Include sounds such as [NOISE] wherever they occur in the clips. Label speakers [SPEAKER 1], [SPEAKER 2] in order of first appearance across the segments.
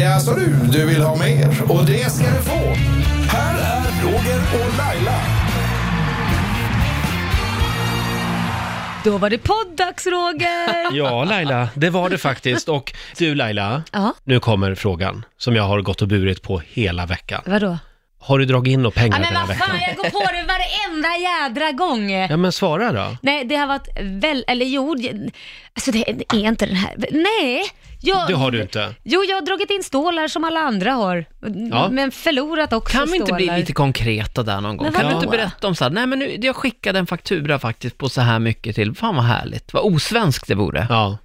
[SPEAKER 1] Jaså du, du vill ha mer? Och det ska du få. Här är Roger och Laila.
[SPEAKER 2] Då var det poddags Roger!
[SPEAKER 3] Ja, Laila, det var det faktiskt. Och du Laila,
[SPEAKER 2] Ja,
[SPEAKER 3] nu kommer frågan som jag har gått och burit på hela veckan.
[SPEAKER 2] vadå?
[SPEAKER 3] Har du dragit in några pengar
[SPEAKER 2] Ja, men
[SPEAKER 3] den här
[SPEAKER 2] vad
[SPEAKER 3] veckan?
[SPEAKER 2] fan, jag går på det varenda jädra gång!
[SPEAKER 3] Ja, men svara då.
[SPEAKER 2] Nej, det har varit väl, eller jo, det- alltså det är inte den här, nej! Jag,
[SPEAKER 3] Det har du inte.
[SPEAKER 2] Jo, jag har dragit in stålar som alla andra har,
[SPEAKER 3] Ja.
[SPEAKER 2] men förlorat också
[SPEAKER 4] Kan vi inte bli
[SPEAKER 2] stålar.
[SPEAKER 4] lite konkreta där någon gång?
[SPEAKER 2] Men
[SPEAKER 4] Kan du
[SPEAKER 2] vadå?
[SPEAKER 4] inte berätta om så här, nej men nu, jag skickade en faktura faktiskt på så här mycket till, fan vad härligt, vad osvenskt det vore.
[SPEAKER 3] Ja.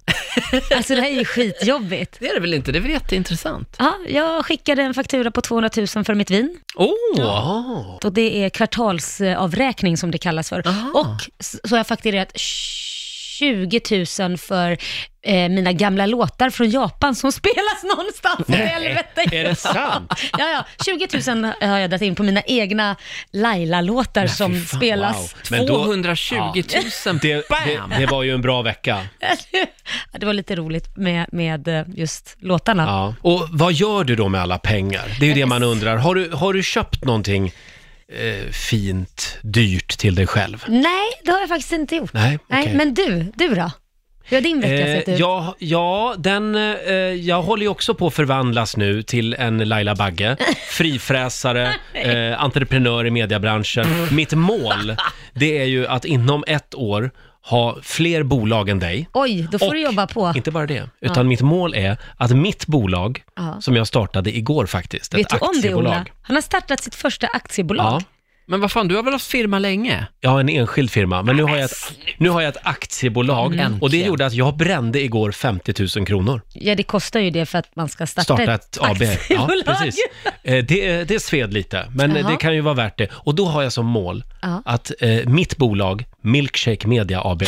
[SPEAKER 2] Alltså det här är ju skitjobbigt.
[SPEAKER 4] Det är det väl inte, det är väl jätteintressant.
[SPEAKER 2] Ja, jag skickade en faktura på 200 000 för mitt vin.
[SPEAKER 4] Åh!
[SPEAKER 2] Och det är kvartalsavräkning som det kallas för.
[SPEAKER 4] Aha.
[SPEAKER 2] Och s- så har jag fakturerat 20 000 för eh, mina gamla låtar från Japan som [LAUGHS] spelas någonstans. Nej, helvete.
[SPEAKER 3] Är det sant?
[SPEAKER 2] Ja, ja, 20 000 har jag dragit in på mina egna Laila-låtar som
[SPEAKER 4] fan,
[SPEAKER 2] spelas.
[SPEAKER 3] wow. Men då-
[SPEAKER 4] 220 000,
[SPEAKER 3] Det,
[SPEAKER 4] bam!
[SPEAKER 3] det, det var ju en bra vecka.
[SPEAKER 2] [LAUGHS] Ja, Det var lite roligt med, med eh, just låtarna.
[SPEAKER 3] Ja. Och vad gör du då med alla pengar? Det är ju det man undrar. Har du, har du köpt någonting eh, fint, dyrt till dig själv?
[SPEAKER 2] Nej, det har jag faktiskt inte gjort.
[SPEAKER 3] Nej, okej.
[SPEAKER 2] men du, du då? Hur har din vecka sett
[SPEAKER 3] Eh,
[SPEAKER 2] ut?
[SPEAKER 3] ja, ja, den, eh, jag håller ju också på att förvandlas nu till en
[SPEAKER 2] [LAUGHS]
[SPEAKER 3] Laila Bagge. Frifräsare, eh, entreprenör i mediebranschen. Mitt mål, det är ju att inom ett år ha fler bolag än dig.
[SPEAKER 2] Oj, då får du
[SPEAKER 3] Och
[SPEAKER 2] jobba på.
[SPEAKER 3] Inte bara det, utan mitt mål är att mitt bolag,
[SPEAKER 2] Ja.
[SPEAKER 3] som jag startade igår faktiskt,
[SPEAKER 2] Vet
[SPEAKER 3] ett
[SPEAKER 2] du om det
[SPEAKER 3] aktiebolag.
[SPEAKER 2] Ola? Han har startat sitt första aktiebolag.
[SPEAKER 3] Ja,
[SPEAKER 4] Men vad fan, du har väl haft firma länge?
[SPEAKER 3] jag har en enskild firma, men nu har jag ett, nu har jag ett aktiebolag
[SPEAKER 4] Mm.
[SPEAKER 3] och det gjorde att jag brände igår 50 000 kronor.
[SPEAKER 2] Ja, det kostar ju det för att man ska starta,
[SPEAKER 3] starta ett AB. Ja,
[SPEAKER 2] aktiebolag.
[SPEAKER 3] precis. Eh, Det, det sved lite, men
[SPEAKER 2] Jaha.
[SPEAKER 3] det kan ju vara värt det. Och då har jag som mål
[SPEAKER 2] Ja.
[SPEAKER 3] att eh, mitt bolag, Milkshake Media AB,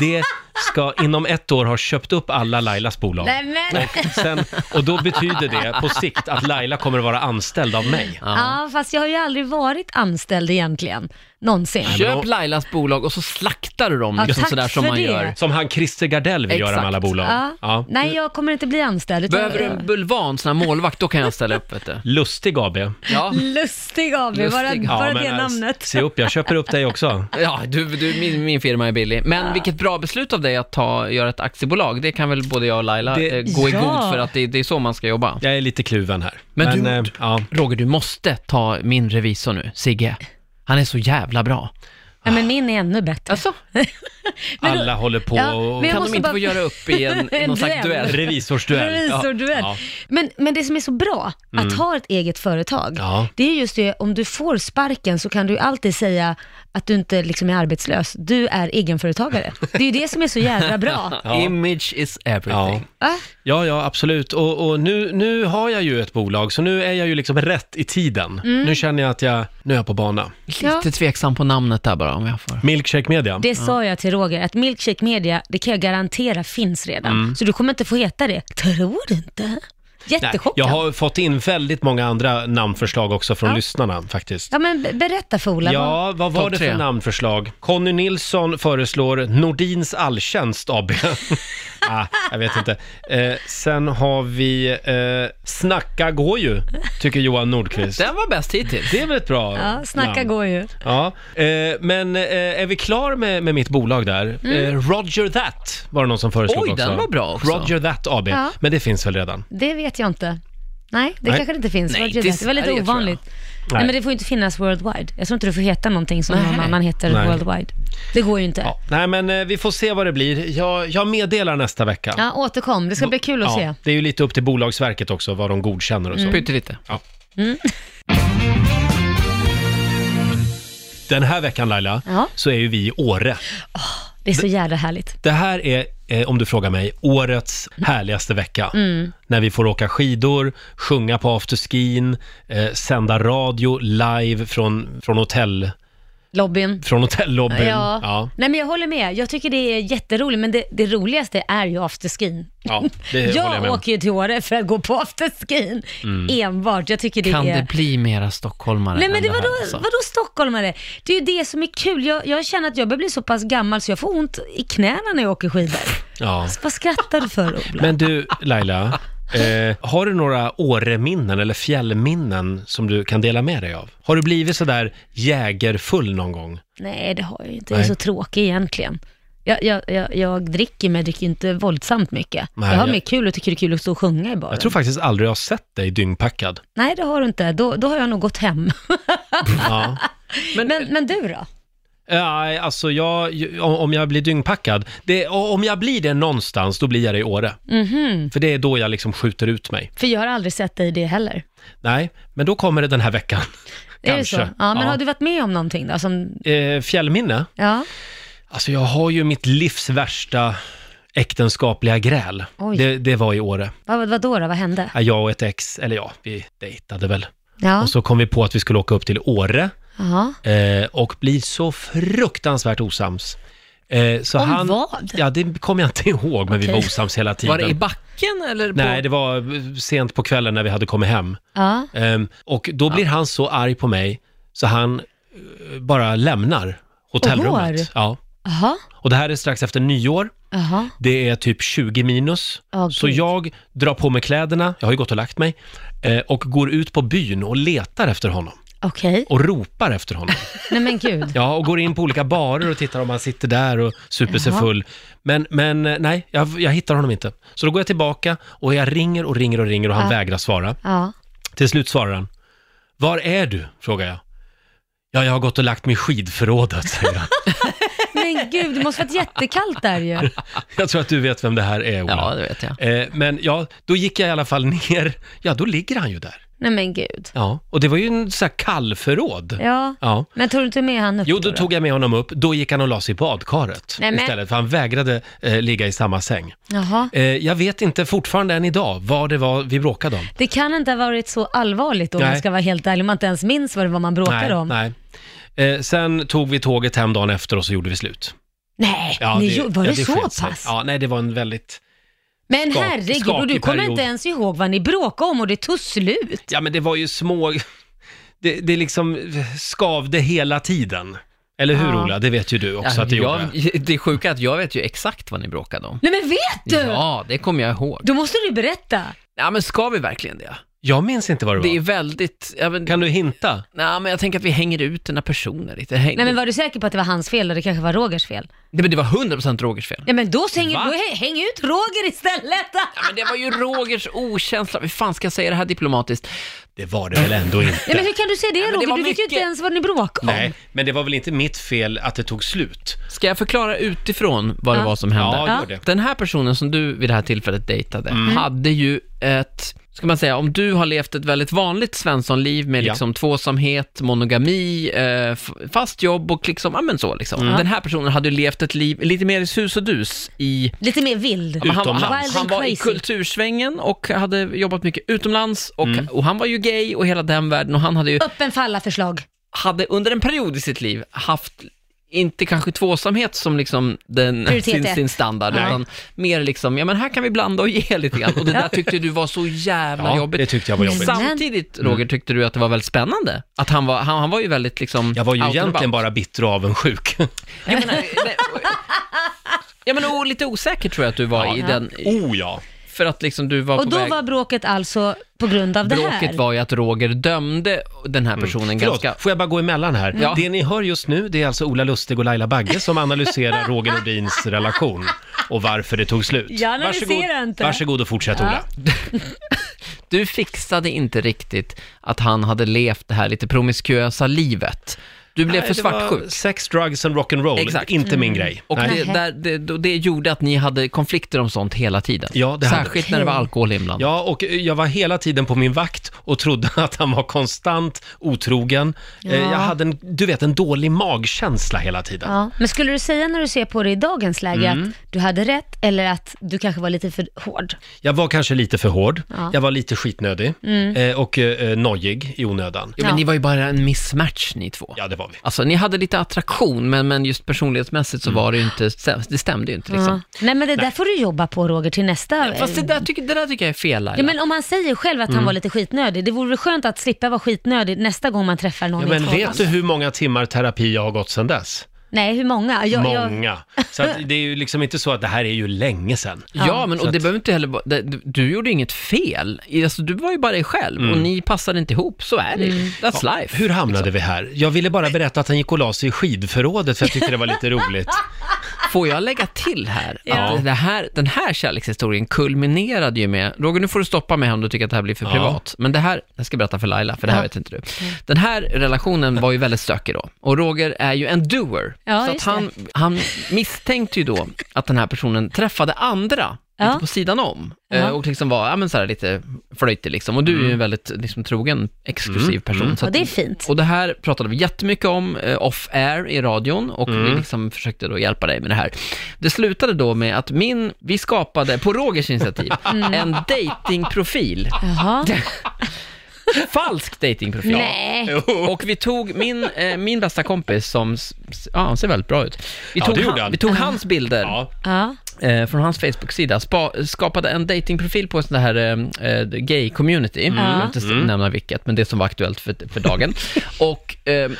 [SPEAKER 3] det ska inom ett år ha köpt upp alla Lailas
[SPEAKER 2] [LAUGHS]
[SPEAKER 3] bolag.
[SPEAKER 2] Nej, men...
[SPEAKER 3] Och, sen, och då betyder det på sikt att Laila kommer att vara anställd av mig.
[SPEAKER 2] Ja, fast jag har ju aldrig varit anställd egentligen, någonsin.
[SPEAKER 3] men
[SPEAKER 4] Köp
[SPEAKER 3] då-
[SPEAKER 4] Lailas bolag och så slaktar du dem,
[SPEAKER 2] Ja,
[SPEAKER 4] liksom
[SPEAKER 2] tack
[SPEAKER 4] sådär som
[SPEAKER 2] för
[SPEAKER 4] man
[SPEAKER 2] det.
[SPEAKER 4] gör.
[SPEAKER 3] Som han Christer Gardell vill göra med
[SPEAKER 4] Exakt.
[SPEAKER 3] alla bolag.
[SPEAKER 2] Ja.
[SPEAKER 3] Ja.
[SPEAKER 2] Nej, jag kommer inte bli anställd. utan-
[SPEAKER 4] Behöver du en bulvan, sån här målvakt, då kan jag ställa upp vet du.
[SPEAKER 3] Lustig AB.
[SPEAKER 2] Mm.
[SPEAKER 4] Ja,
[SPEAKER 2] Lustig AB, bara,
[SPEAKER 4] Lustig. Ja,
[SPEAKER 2] bara
[SPEAKER 3] men,
[SPEAKER 2] det
[SPEAKER 3] eh,
[SPEAKER 2] namnet.
[SPEAKER 3] Se upp, jag köper upp dig också.
[SPEAKER 4] ja du, du, min, min firma är billig. Men vilket bra beslut av dig att ta, göra ett aktiebolag. Det kan väl både jag och Laila
[SPEAKER 3] Det-
[SPEAKER 4] eh, gå i
[SPEAKER 2] Ja.
[SPEAKER 4] god för att det, det är så man ska jobba.
[SPEAKER 3] Jag är lite kluven här.
[SPEAKER 4] Men du-
[SPEAKER 3] eh, ja.
[SPEAKER 4] Roger, du måste ta min revisor nu, Sigge. Han är så jävla bra.
[SPEAKER 2] Ja, men min är ännu bättre.
[SPEAKER 4] Alltså,
[SPEAKER 2] Men då-
[SPEAKER 3] Alla håller på
[SPEAKER 2] Ja,
[SPEAKER 3] och...
[SPEAKER 2] men jag
[SPEAKER 4] kan de
[SPEAKER 2] måste
[SPEAKER 4] inte
[SPEAKER 2] bara-
[SPEAKER 4] få göra upp i en,
[SPEAKER 2] [LAUGHS] En
[SPEAKER 4] någon slags
[SPEAKER 2] duell.
[SPEAKER 4] duell?
[SPEAKER 3] Revisorsduell.
[SPEAKER 2] Revisorduell.
[SPEAKER 3] Ja. Mm.
[SPEAKER 2] Men, men det som är så bra att ha ett eget företag,
[SPEAKER 3] Ja.
[SPEAKER 2] det är just det, om du får sparken så kan du ju alltid säga att du inte liksom är arbetslös. Du är egenföretagare. Det är ju det som är så jävla
[SPEAKER 3] [LAUGHS]
[SPEAKER 2] bra.
[SPEAKER 3] Ja.
[SPEAKER 4] Image is
[SPEAKER 3] Ja.
[SPEAKER 4] everything.
[SPEAKER 2] Va?
[SPEAKER 3] Ja, ja, absolut. Och, och nu, nu har jag ju ett bolag, så nu är jag ju liksom rätt i tiden.
[SPEAKER 2] Mm.
[SPEAKER 3] Nu känner jag att jag, nu är jag på bana.
[SPEAKER 2] Ja.
[SPEAKER 4] Lite tveksam på namnet där bara, om jag får.
[SPEAKER 3] Milkshake Media.
[SPEAKER 2] Det sa jag till Roger, att Milkshake Media, det kan jag garantera finns redan. Så du kommer inte få heta det. Tror inte.
[SPEAKER 3] Mm. Nej,
[SPEAKER 2] Jättechockad.
[SPEAKER 3] jag har fått in väldigt många andra namnförslag också från
[SPEAKER 2] Ja.
[SPEAKER 3] lyssnarna faktiskt.
[SPEAKER 2] Ja men be- berätta för Ola. vad-
[SPEAKER 3] Ja, vad var
[SPEAKER 4] Topp
[SPEAKER 3] det för
[SPEAKER 4] tre.
[SPEAKER 3] namnförslag? Conny Nilsson föreslår Nordins
[SPEAKER 2] [LAUGHS]
[SPEAKER 3] Alltjänst AB. [LAUGHS] ah, jag vet inte. Eh, sen har vi eh, Snacka går ju, tycker Johan Nordqvist.
[SPEAKER 4] Den var bäst hittills.
[SPEAKER 3] Det är väl ett bra
[SPEAKER 2] Ja, snacka
[SPEAKER 3] namn?
[SPEAKER 2] går ju.
[SPEAKER 3] Ja, eh, men eh, är vi klar med, med mitt bolag där? Eh, Roger That var det någon som föreslog
[SPEAKER 4] Mm. Oj,
[SPEAKER 3] också.
[SPEAKER 4] den var bra också.
[SPEAKER 3] Roger That AB,
[SPEAKER 2] Ja.
[SPEAKER 3] men det finns väl redan?
[SPEAKER 2] Det vet jag inte. Nej, det
[SPEAKER 3] Nej.
[SPEAKER 2] kanske det inte finns.
[SPEAKER 4] Nej,
[SPEAKER 2] Vad gör
[SPEAKER 4] till
[SPEAKER 2] det? det var lite
[SPEAKER 4] Sverige, tror jag.
[SPEAKER 2] ovanligt. Nej.
[SPEAKER 3] Nej.
[SPEAKER 2] men det får ju inte finnas worldwide. Jag tror inte du får heta någonting som någon
[SPEAKER 4] Nej.
[SPEAKER 2] annan heter
[SPEAKER 3] Nej.
[SPEAKER 2] worldwide. Det går ju inte.
[SPEAKER 3] Ja.
[SPEAKER 2] Ja.
[SPEAKER 3] Nej, men eh, vi får se vad det blir. Jag, jag meddelar nästa vecka.
[SPEAKER 2] återkom. Det ska bli kul att se.
[SPEAKER 3] det är ju lite upp till Bolagsverket också, vad de godkänner och så.
[SPEAKER 2] Mm.
[SPEAKER 4] Pyttelite.
[SPEAKER 3] Den här veckan Laila,
[SPEAKER 2] Ja.
[SPEAKER 3] så är ju vi i Åre.
[SPEAKER 2] Det är så jävla härligt.
[SPEAKER 3] Det här är, eh, om du frågar mig, årets härligaste vecka.
[SPEAKER 2] Mm.
[SPEAKER 3] När vi får åka skidor, sjunga på afterskin, eh, sända radio live från, från, hotell,
[SPEAKER 2] Lobbyn.
[SPEAKER 3] från hotellobbyn.
[SPEAKER 2] Ja. Nej men jag håller med. Jag tycker det är jätteroligt, men det, det roligaste är ju afterskin.
[SPEAKER 3] Ja, det
[SPEAKER 2] [LAUGHS]
[SPEAKER 3] håller jag
[SPEAKER 2] jag
[SPEAKER 3] med om. Mm.
[SPEAKER 2] åker ju till Åre för att gå på afterskin. Enbart. Jag tycker det
[SPEAKER 4] Kan
[SPEAKER 2] är...
[SPEAKER 4] det bli mera stockholmare
[SPEAKER 2] Nej men
[SPEAKER 4] än
[SPEAKER 2] det,
[SPEAKER 4] här,
[SPEAKER 2] vadå,
[SPEAKER 4] alltså?
[SPEAKER 2] vadå stockholmare? Det är ju det som är kul. Jag, jag känner att jag börjar bli så pass gammal så jag får ont i knäna när jag åker skidor.
[SPEAKER 3] Ja.
[SPEAKER 2] Vad skrattar du för Ola?
[SPEAKER 3] Men du Laila, Eh, har du några Åreminnen eller fjällminnen som du kan dela med dig av? Har du blivit sådär jägerfull någon gång?
[SPEAKER 2] [LAUGHS] Nej, det har jag ju inte. Jag är
[SPEAKER 3] Nej.
[SPEAKER 2] så tråkig egentligen. Jag, jag, jag, jag dricker, men jag dricker inte våldsamt mycket.
[SPEAKER 3] Nej,
[SPEAKER 2] jag har
[SPEAKER 3] jag-
[SPEAKER 2] mer kul och tycker det är kul att stå och sjunga i baren.
[SPEAKER 3] Jag tror faktiskt aldrig jag har sett dig dyngpackad.
[SPEAKER 2] Nej, det har du inte. Då, då har jag nog gått [LAUGHS] hem.
[SPEAKER 3] Ja.
[SPEAKER 2] Men, men, du då?
[SPEAKER 3] Ja, alltså jag, ju- om- om jag blir dyngpackad, det, om jag blir det någonstans, då blir jag det i Åre.
[SPEAKER 2] Mm. Mm-hmm.
[SPEAKER 3] För det är då jag liksom skjuter ut mig.
[SPEAKER 2] För jag har aldrig sett dig i det heller.
[SPEAKER 3] Nej, men då kommer det den här veckan. [LAUGHS]
[SPEAKER 2] Är det
[SPEAKER 3] Kanske.
[SPEAKER 2] så? Ja, men har du varit med om någonting då? Som,
[SPEAKER 3] Eh, fjällminne?
[SPEAKER 2] ja.
[SPEAKER 3] Alltså jag har ju mitt livs värsta äktenskapliga gräl.
[SPEAKER 2] Oj.
[SPEAKER 3] Det, det var i Åre.
[SPEAKER 2] Vad, vad då, då? Vad hände?
[SPEAKER 3] Ja, Jag och ett ex, eller ja, vi dejtade väl.
[SPEAKER 2] Ja.
[SPEAKER 3] Och så kom vi på att vi skulle åka upp till Åre
[SPEAKER 2] ja.
[SPEAKER 3] eh, och bli så fruktansvärt osams. Eh, så
[SPEAKER 2] Om
[SPEAKER 3] han,
[SPEAKER 2] vad?
[SPEAKER 3] Ja, det kommer jag inte ihåg, men vi var
[SPEAKER 2] Okej.
[SPEAKER 3] osams hela tiden.
[SPEAKER 4] Var det i backen eller? På...
[SPEAKER 3] Nej, det var eh, sent på kvällen när vi hade kommit hem.
[SPEAKER 2] ja.
[SPEAKER 3] Ehm, och då blir han så arg på mig så han eh, bara lämnar
[SPEAKER 2] Och
[SPEAKER 3] hotellrummet.
[SPEAKER 2] går?
[SPEAKER 3] Ja.
[SPEAKER 2] Jaha.
[SPEAKER 3] Och det här är strax efter nyår.
[SPEAKER 2] Jaha.
[SPEAKER 3] Det är typ 20 minus.
[SPEAKER 2] Åh,
[SPEAKER 3] så
[SPEAKER 2] Gud.
[SPEAKER 3] jag drar på mig kläderna, jag har ju gått och lagt mig, eh, och går ut på byn och letar efter honom.
[SPEAKER 2] Okej.
[SPEAKER 3] Och ropar
[SPEAKER 2] [LAUGHS]
[SPEAKER 3] efter honom.
[SPEAKER 2] Nej men gud.
[SPEAKER 3] Ja, och går in på olika barer och tittar om han sitter där och super sig
[SPEAKER 2] Jaha.
[SPEAKER 3] full. Men, men eh, nej, jag, jag hittar honom inte. Så då går jag tillbaka och jag ringer och ringer och ringer och han
[SPEAKER 2] Ja.
[SPEAKER 3] vägrar svara.
[SPEAKER 2] Ja.
[SPEAKER 3] Till slut svarar han. Var är du? frågar jag. Ja, jag har gått och lagt mig i skidförrådet, säger
[SPEAKER 2] [LAUGHS]
[SPEAKER 3] han.
[SPEAKER 2] Men gud, det måste varit jättekallt där ju.
[SPEAKER 3] Jag tror att du vet vem det här är, Ola.
[SPEAKER 4] Ja, det vet jag.
[SPEAKER 3] Eh, men ja, då gick jag i alla fall ner. Ja, då ligger han ju där.
[SPEAKER 2] Nej men gud.
[SPEAKER 3] Ja, och det var ju en sån här kallförråd.
[SPEAKER 2] Ja.
[SPEAKER 3] Ja.
[SPEAKER 2] Men tog du inte med han upp
[SPEAKER 3] Jo, då tog jag med honom upp. Då gick han och la sig i badkaret
[SPEAKER 2] Nej, men-
[SPEAKER 3] istället, för han vägrade eh, ligga i samma säng.
[SPEAKER 2] Jaha.
[SPEAKER 3] Eh, jag vet inte fortfarande än idag vad det var vi bråkade om.
[SPEAKER 2] Det kan inte ha varit så allvarligt då, om
[SPEAKER 3] Nej.
[SPEAKER 2] man ska vara helt ärlig. Man inte ens minns vad det var man bråkade om. Nej,
[SPEAKER 3] nej. Eh, sen tog vi tåget hem dagen efter och så gjorde vi slut.
[SPEAKER 2] ni, gjorde- var
[SPEAKER 3] ja,
[SPEAKER 2] det, så
[SPEAKER 3] sket sig.
[SPEAKER 2] pass?
[SPEAKER 3] Ja, nej, det var en väldigt...
[SPEAKER 2] Men
[SPEAKER 3] skak-
[SPEAKER 2] herregud, och du
[SPEAKER 3] skakig
[SPEAKER 2] kommer
[SPEAKER 3] period.
[SPEAKER 2] inte ens ihåg vad ni bråkade om och det tog slut.
[SPEAKER 3] Ja, men det var ju små... Det, det liksom skavde hela tiden. Eller hur,
[SPEAKER 2] Ja.
[SPEAKER 3] Ola? Det vet ju du också
[SPEAKER 4] Alltså,
[SPEAKER 3] att det gjorde.
[SPEAKER 4] jag, [LAUGHS] det är sjuka är att jag vet ju exakt vad ni bråkade om.
[SPEAKER 2] Nej men vet du?
[SPEAKER 4] Ja, det kommer jag ihåg.
[SPEAKER 2] Då måste du berätta.
[SPEAKER 4] Ja, men ska vi verkligen det?
[SPEAKER 3] Jag minns inte vad det var.
[SPEAKER 4] Det är väldigt... Ja, men,
[SPEAKER 3] Kan du hinta?
[SPEAKER 4] nej, men jag tänker att vi hänger ut den här personen lite. Häng...
[SPEAKER 2] Nej men var du säker på att det var hans fel och det kanske var Rogers fel?
[SPEAKER 4] Nej, men det var 100% Rogers fel.
[SPEAKER 2] Nej men då, häng,
[SPEAKER 3] Va?
[SPEAKER 2] då hä- häng ut Roger istället!
[SPEAKER 4] Ja, men det var ju Rogers okänsla. Hur fan ska jag säga det här diplomatiskt?
[SPEAKER 3] Det var det väl
[SPEAKER 2] [LAUGHS]
[SPEAKER 3] ändå inte?
[SPEAKER 2] Nej men hur kan du säga det
[SPEAKER 4] men det
[SPEAKER 2] Roger?
[SPEAKER 4] var
[SPEAKER 2] du vet ju inte
[SPEAKER 4] mycket-
[SPEAKER 2] ens vad ni bråkade om.
[SPEAKER 3] Nej, men det var väl inte mitt fel att det tog slut?
[SPEAKER 4] Ska jag förklara utifrån vad
[SPEAKER 2] Ja.
[SPEAKER 4] det var som hände?
[SPEAKER 3] Ja, gör det. Mm.
[SPEAKER 4] Den här personen som du vid det här tillfället dejtade hade ju ett, ska man säga, om du har levt ett väldigt vanligt svenssonliv med
[SPEAKER 3] Ja.
[SPEAKER 4] liksom tvåsamhet, monogami, eh, f- fast jobb och liksom, ja men så liksom.
[SPEAKER 3] Mm.
[SPEAKER 4] Den här personen hade ju levt ett liv lite mer i sus och dus i
[SPEAKER 2] Lite mer vild.
[SPEAKER 4] men han,
[SPEAKER 3] Utomlands.
[SPEAKER 4] han,
[SPEAKER 2] Wild
[SPEAKER 4] han
[SPEAKER 2] and
[SPEAKER 4] var i
[SPEAKER 2] crazy.
[SPEAKER 4] kultursvängen och hade jobbat mycket utomlands och,
[SPEAKER 3] Mm.
[SPEAKER 4] och han var ju gay och hela den världen och han hade ju
[SPEAKER 2] Öppen för alla förslag.
[SPEAKER 4] hade under en period i sitt liv haft inte kanske tvåsamhet som liksom den,
[SPEAKER 2] Prioritet
[SPEAKER 4] sin,
[SPEAKER 2] ett.
[SPEAKER 4] sin standard,
[SPEAKER 2] Nej.
[SPEAKER 4] utan mer liksom, ja men här kan vi blanda och ge [LAUGHS] lite grann. Och det där tyckte du var så jävla
[SPEAKER 3] Ja,
[SPEAKER 4] jobbigt.
[SPEAKER 3] det tyckte jag var jobbigt. Mm.
[SPEAKER 4] Samtidigt, Roger, tyckte du att det var väldigt spännande. Att han var, han, han var ju väldigt liksom...
[SPEAKER 3] Jag var ju
[SPEAKER 4] out and
[SPEAKER 3] egentligen
[SPEAKER 4] about.
[SPEAKER 3] bara bitter och avundsjuk.
[SPEAKER 4] Jag menar, nej,
[SPEAKER 2] [LAUGHS]
[SPEAKER 4] ja, men och lite osäker tror jag att du var i den,
[SPEAKER 3] oh [LAUGHS] ja!
[SPEAKER 4] för att liksom du var
[SPEAKER 2] Och
[SPEAKER 4] på
[SPEAKER 2] då
[SPEAKER 4] väg...
[SPEAKER 2] var bråket alltså på grund av det här?
[SPEAKER 4] Bråket var ju att Roger dömde den här personen
[SPEAKER 3] Mm. Förlåt,
[SPEAKER 4] ganska...
[SPEAKER 3] får jag bara gå emellan här?
[SPEAKER 4] Ja.
[SPEAKER 3] Det ni hör just nu, det är alltså Ola Lustig och Laila Bagge som analyserar Roger [LAUGHS] Nordins relation och varför det tog slut.
[SPEAKER 2] Jag analyserar
[SPEAKER 3] varsågod,
[SPEAKER 2] inte.
[SPEAKER 3] Varsågod och fortsätt Ola.
[SPEAKER 4] Du fixade inte riktigt att han hade levt det här lite promiskuösa livet. Du blev för
[SPEAKER 3] Nej, det var
[SPEAKER 4] svartsjuk.
[SPEAKER 3] Sex, drugs and rock'n'roll.
[SPEAKER 4] Exakt.
[SPEAKER 3] Inte min grej.
[SPEAKER 4] Och
[SPEAKER 3] Nej.
[SPEAKER 4] det,
[SPEAKER 2] Nej.
[SPEAKER 4] där, det, då- det gjorde att ni hade konflikter om sånt hela tiden.
[SPEAKER 3] Ja, det hade
[SPEAKER 4] Särskilt när det var alkohol inblandat.
[SPEAKER 3] Ja, och eh, jag var hela tiden på min vakt och trodde [LAUGHS] att han var konstant otrogen. Eh, Jag hade en, du vet, en dålig magkänsla hela tiden.
[SPEAKER 2] Ja. Men skulle du säga när du ser på det i dagens läge att du hade rätt eller att du kanske var lite för hård?
[SPEAKER 3] Jag var kanske lite för hård,
[SPEAKER 2] Ja.
[SPEAKER 3] jag var lite skitnödig eh, och eh, nojig i onödan.
[SPEAKER 4] Jo, men
[SPEAKER 2] Ja.
[SPEAKER 4] ni var ju bara en mismatch ni två.
[SPEAKER 3] Ja, det var vi.
[SPEAKER 4] Alltså, ni hade lite attraktion, men, men just personlighetsmässigt så
[SPEAKER 3] Mm.
[SPEAKER 4] var det ju inte, det stämde ju inte liksom.
[SPEAKER 2] Ja. Nej men det där får du jobba på Roger till nästa.
[SPEAKER 4] Fast det där, tycker, det där tycker jag är fel, Laila.
[SPEAKER 2] Ja, men om man säger själv att han var lite skitnödig, det vore väl skönt att slippa vara skitnödig nästa gång man träffar någon
[SPEAKER 3] Ja,
[SPEAKER 2] i ett
[SPEAKER 3] men
[SPEAKER 2] förhållande.
[SPEAKER 3] vet du hur många timmar terapi jag har gått sedan dess?
[SPEAKER 2] Nej, hur många? Jag, Jag,
[SPEAKER 3] Många. Så att det är ju liksom inte så att det här är ju länge sedan.
[SPEAKER 4] Ja,
[SPEAKER 2] Ja,
[SPEAKER 4] men
[SPEAKER 3] så
[SPEAKER 4] och det
[SPEAKER 3] att-
[SPEAKER 4] behöver inte heller vara- det- du, du gjorde inget fel. Alltså, du var ju bara dig själv och ni passade inte ihop. Så är det ju. That's life.
[SPEAKER 3] Mm. Hur hamnade vi här? Jag ville bara berätta att han gick och la sig i skidförrådet för jag tyckte det var
[SPEAKER 2] [LAUGHS]
[SPEAKER 3] lite roligt.
[SPEAKER 4] Får jag lägga till här att
[SPEAKER 2] Ja.
[SPEAKER 4] det här, den här kärlekshistorien kulminerade ju med, Roger nu får du stoppa mig om du tycker att det här blir för privat, men det här, jag ska berätta för Laila, för det här vet inte du.
[SPEAKER 2] Mm.
[SPEAKER 4] Den här relationen var ju väldigt stökig då, och Roger är ju en doer,
[SPEAKER 2] Ja,
[SPEAKER 4] så att
[SPEAKER 2] just det.
[SPEAKER 4] han, han misstänkte ju då att den här personen träffade andra
[SPEAKER 2] Ja.
[SPEAKER 4] lite på sidan om
[SPEAKER 2] Ja. Mm.
[SPEAKER 4] eh, och liksom var, ja men så här lite flöjtig liksom, och du är ju en väldigt liksom, trogen, exklusiv person. Så
[SPEAKER 2] och
[SPEAKER 4] att-
[SPEAKER 2] det är fint.
[SPEAKER 4] och det här pratade vi jättemycket om eh, off-air i radion och
[SPEAKER 3] Mm.
[SPEAKER 4] vi liksom försökte då hjälpa dig med det här. Det slutade då med att min, vi skapade, på
[SPEAKER 2] [LAUGHS]
[SPEAKER 4] Rogers initiativ,
[SPEAKER 2] Mm.
[SPEAKER 4] en datingprofil.
[SPEAKER 2] Jaha.
[SPEAKER 4] Falsk datingprofil.
[SPEAKER 2] Nej.
[SPEAKER 4] Och vi tog min, eh, min bästa kompis som, s- s- ja han ser väldigt bra ut. Vi
[SPEAKER 3] Ja,
[SPEAKER 4] tog,
[SPEAKER 3] det gjorde han.
[SPEAKER 4] vi tog hans bilder
[SPEAKER 3] Ja.
[SPEAKER 2] Ja.
[SPEAKER 4] eh, från hans Facebook-sida, spa- skapade en datingprofil på en sån här eh, eh, gay-community,
[SPEAKER 2] Mm.
[SPEAKER 4] jag vill inte s- nämna vilket, men det som var aktuellt för,
[SPEAKER 2] [LAUGHS]
[SPEAKER 4] för dagen, och eh, d-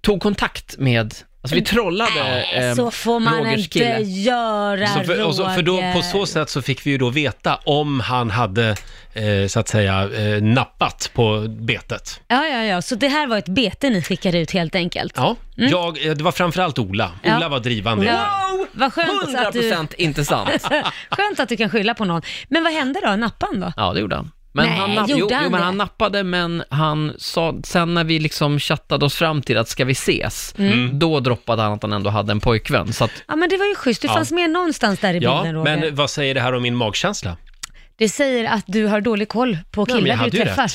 [SPEAKER 4] tog kontakt med, alltså vi trollade eh,
[SPEAKER 2] Så får man
[SPEAKER 4] Rogers
[SPEAKER 2] inte
[SPEAKER 4] kille.
[SPEAKER 2] göra,
[SPEAKER 3] Så för, och så, för då, på så
[SPEAKER 2] Roger.
[SPEAKER 3] sätt så fick vi ju då veta om han hade, eh, så att säga, eh, nappat på betet.
[SPEAKER 2] Ja, ja, ja. Så det här var ett bete ni skickade ut helt enkelt.
[SPEAKER 3] Ja, jag, eh, det var framförallt Ola.
[SPEAKER 2] Mm. Ja.
[SPEAKER 3] Ola var drivande.
[SPEAKER 2] Wow! Vad skönt att, du,
[SPEAKER 4] 100% inte sant.
[SPEAKER 2] [LAUGHS] skönt att du kan skylla på någon. Men vad hände då? Nappan då?
[SPEAKER 4] Ja, det gjorde han. Men
[SPEAKER 2] Nej,
[SPEAKER 4] han, napp-
[SPEAKER 2] gjorde
[SPEAKER 4] jo,
[SPEAKER 2] han
[SPEAKER 4] jo, men
[SPEAKER 2] det?
[SPEAKER 4] han nappade, men han sa, sen när vi liksom chattade oss fram till att ska vi ses,
[SPEAKER 2] Mm.
[SPEAKER 4] då droppade han att han ändå hade en pojkvän. Så att,
[SPEAKER 2] Ja, men det var ju schysst. Du fanns med någonstans där i
[SPEAKER 3] Ja,
[SPEAKER 2] bilden, Roger.
[SPEAKER 3] men eh, vad säger det här om min magkänsla?
[SPEAKER 2] Det säger att du har dålig koll på
[SPEAKER 3] men jag
[SPEAKER 2] killar
[SPEAKER 3] hade
[SPEAKER 2] du
[SPEAKER 3] ju
[SPEAKER 2] träffar.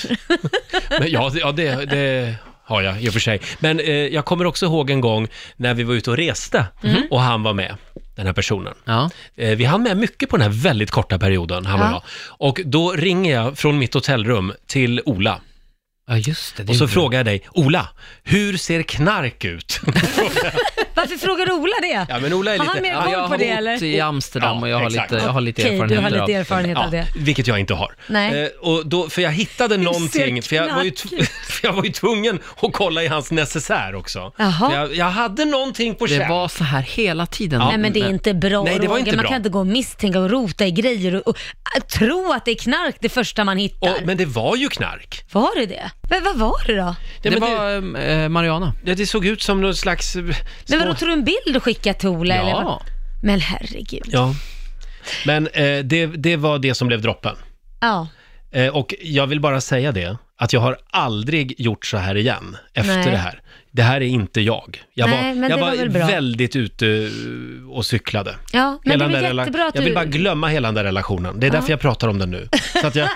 [SPEAKER 3] [LAUGHS] Men, ja, det, ja det, det har jag i och för sig. Men eh, jag kommer också ihåg en gång när vi var ute och reste
[SPEAKER 2] Mhm.
[SPEAKER 3] och han var med, den här personen.
[SPEAKER 4] ja.
[SPEAKER 3] Eh, Vi hann med mycket på den här väldigt korta perioden, han och
[SPEAKER 2] Ja.
[SPEAKER 3] jag. Och då ringer jag från mitt hotellrum till Ola.
[SPEAKER 4] ja, just det. det
[SPEAKER 3] Och så
[SPEAKER 4] gjorde han.
[SPEAKER 3] frågar jag dig, Ola, hur ser knark ut?
[SPEAKER 2] Varför frågar Ola det?
[SPEAKER 3] Ja, men Ola är
[SPEAKER 2] Har
[SPEAKER 3] lite-
[SPEAKER 2] han mer
[SPEAKER 3] ja,
[SPEAKER 2] koll
[SPEAKER 4] jag
[SPEAKER 2] på
[SPEAKER 4] har
[SPEAKER 2] det
[SPEAKER 4] bott
[SPEAKER 2] eller?
[SPEAKER 4] i Amsterdam
[SPEAKER 3] Ja,
[SPEAKER 4] och jag har,
[SPEAKER 3] exakt.
[SPEAKER 4] lite, jag har lite
[SPEAKER 2] Okej,
[SPEAKER 4] erfarenhet
[SPEAKER 2] du har lite
[SPEAKER 4] av-
[SPEAKER 2] erfarenhet av det.
[SPEAKER 3] vilket jag inte har.
[SPEAKER 2] Nej.
[SPEAKER 3] Eh, och då, för jag hittade någonting, för jag, var ju tv- [LAUGHS] för jag var ju tvungen att kolla i hans necessär också.
[SPEAKER 2] Jaha.
[SPEAKER 3] För Jag, jag hade någonting på
[SPEAKER 4] Det
[SPEAKER 3] känn.
[SPEAKER 4] var så här hela tiden. Mm.
[SPEAKER 2] Nej men det är inte bra
[SPEAKER 3] Nej, det var
[SPEAKER 2] Roger.
[SPEAKER 3] inte
[SPEAKER 2] man
[SPEAKER 3] bra.
[SPEAKER 2] kan inte gå och misstänka och rota i grejer och, och, äh, tro att det är knark det första man hittar.
[SPEAKER 3] Och, men det var ju knark.
[SPEAKER 2] Var det det? Men vad var det då?
[SPEAKER 4] Det,
[SPEAKER 3] Nej, men
[SPEAKER 4] var eh, Mariana.
[SPEAKER 3] det, det såg ut som någon slags... eh, Små...
[SPEAKER 2] Men vadå, tog du en bild och skickade till Ola eller?
[SPEAKER 4] Ja.
[SPEAKER 2] vad? Men herregud.
[SPEAKER 3] Ja. Men eh, det, det var det som blev droppen.
[SPEAKER 2] Ja.
[SPEAKER 3] Eh, och jag vill bara säga det, att jag har aldrig gjort så här igen efter
[SPEAKER 2] Nej.
[SPEAKER 3] det här. Det här är inte jag. Jag
[SPEAKER 2] Nej,
[SPEAKER 3] var,
[SPEAKER 2] men
[SPEAKER 3] jag
[SPEAKER 2] det
[SPEAKER 3] var,
[SPEAKER 2] var väl bra.
[SPEAKER 3] väldigt ute eh, och cyklade.
[SPEAKER 2] Ja, men det
[SPEAKER 3] Hela
[SPEAKER 2] är
[SPEAKER 3] den
[SPEAKER 2] väl
[SPEAKER 3] där
[SPEAKER 2] jättebra
[SPEAKER 3] rela-
[SPEAKER 2] att
[SPEAKER 3] Jag vill
[SPEAKER 2] du...
[SPEAKER 3] bara glömma hela den där relationen. Det är därför jag pratar om den nu. Så att jag,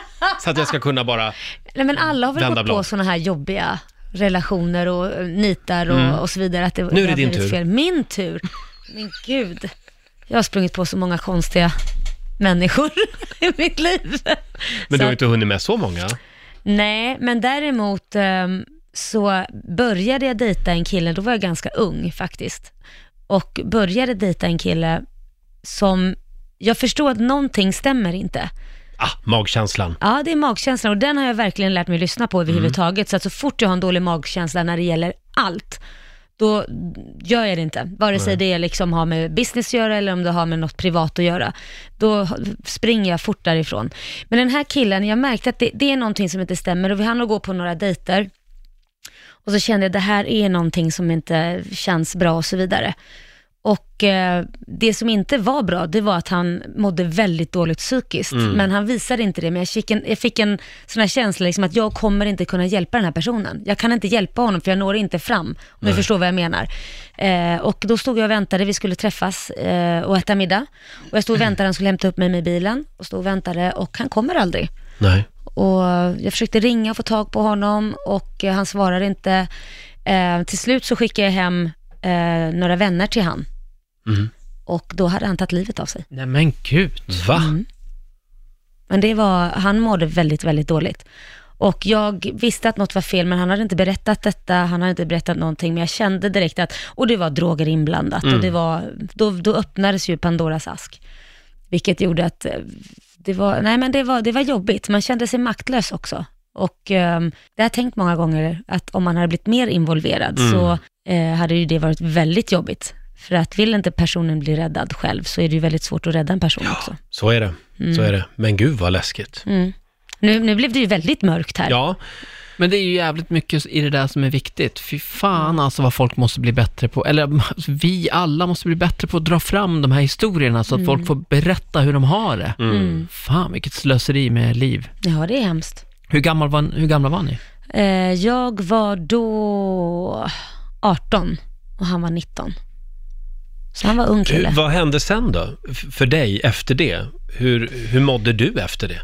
[SPEAKER 3] så att jag ska
[SPEAKER 2] [LAUGHS]
[SPEAKER 3] kunna bara...
[SPEAKER 2] Nej, men alla har väl
[SPEAKER 3] Blanda
[SPEAKER 2] gått på
[SPEAKER 3] blad.
[SPEAKER 2] sådana här jobbiga relationer och eh, nitar och, och så vidare. Att det,
[SPEAKER 3] Mm. är det
[SPEAKER 2] har
[SPEAKER 3] din
[SPEAKER 2] blivit
[SPEAKER 3] tur.
[SPEAKER 2] Fel. Min tur? Men gud. Jag har sprungit på så många konstiga människor [LAUGHS] i mitt liv.
[SPEAKER 3] Men du
[SPEAKER 2] så
[SPEAKER 3] har
[SPEAKER 2] att-
[SPEAKER 3] inte hunnit med så många.
[SPEAKER 2] Nej, men däremot ehm, så började jag dejta en kille, då var jag ganska ung faktiskt, och började dejta en kille som, jag förstår att någonting stämmer inte.
[SPEAKER 3] Ah, magkänslan.
[SPEAKER 2] Ja, det är magkänslan och den har jag verkligen lärt mig lyssna på överhuvudtaget. Så att så fort jag har en dålig magkänsla när det gäller allt, då gör jag det inte. Vare sig det liksom har med business att göra eller om det har med något privat att göra. Då springer jag fort därifrån. Men den här killen, jag märkte att det, det är någonting som inte stämmer och vi hann att gå på några dejter. Och så kände jag det här är någonting som inte känns bra och så vidare. Och eh, det som inte var bra, det var att han mådde väldigt dåligt psykiskt. Men han visade inte det. Men jag fick en, jag fick en sån här känsla liksom att jag kommer inte kunna hjälpa den här personen. Jag kan inte hjälpa honom för jag når inte fram, om du förstår vad jag menar. Eh, och då stod jag och väntade, vi skulle träffas eh, och äta middag. Och jag stod och väntade, han skulle hämta upp mig med bilen. Och stod och väntade och han kommer aldrig.
[SPEAKER 3] Nej.
[SPEAKER 2] Och jag försökte ringa och få tag på honom och eh, han svarade inte. Eh, till slut så skickade jag hem eh, några vänner till han. Och då hade han tagit livet av sig.
[SPEAKER 4] Nej men gud.
[SPEAKER 3] Va?
[SPEAKER 2] Men det var, han mådde väldigt, väldigt dåligt. Och jag visste att något var fel, men han hade inte berättat detta, han hade inte berättat någonting, men jag kände direkt att, och det var droger inblandat, och det var, då, då öppnades ju Pandoras ask. Vilket gjorde att eh, det var, nej men det var, det var jobbigt, man kände sig maktlös också. Och ehm, det har jag tänkt många gånger, att om man hade blivit mer involverad så eh, hade ju det varit väldigt jobbigt. För att vill inte personen bli räddad själv så är det ju väldigt svårt att rädda en person också.
[SPEAKER 3] Så är det.
[SPEAKER 2] Mm.
[SPEAKER 3] Så är det. Men gud vad läskigt.
[SPEAKER 2] Nu, nu blev det ju väldigt mörkt här.
[SPEAKER 3] Ja,
[SPEAKER 4] Men det är ju jävligt mycket i det där som är viktigt. Fy fan alltså vad folk måste bli bättre på, eller alltså, vi alla måste bli bättre på att dra fram de här historierna
[SPEAKER 2] Mm.
[SPEAKER 4] så att folk får berätta hur de har det.
[SPEAKER 3] Mm.
[SPEAKER 4] Fan vilket slöseri med liv.
[SPEAKER 2] Ja, det är hemskt.
[SPEAKER 4] Hur, gammal var, hur gamla var ni?
[SPEAKER 2] Eh, jag var då 18 och han var 19. Så han var ung
[SPEAKER 3] Hur-
[SPEAKER 2] kille.
[SPEAKER 3] vad hände sen då? F- För dig efter det? Hur, hur mådde du efter det?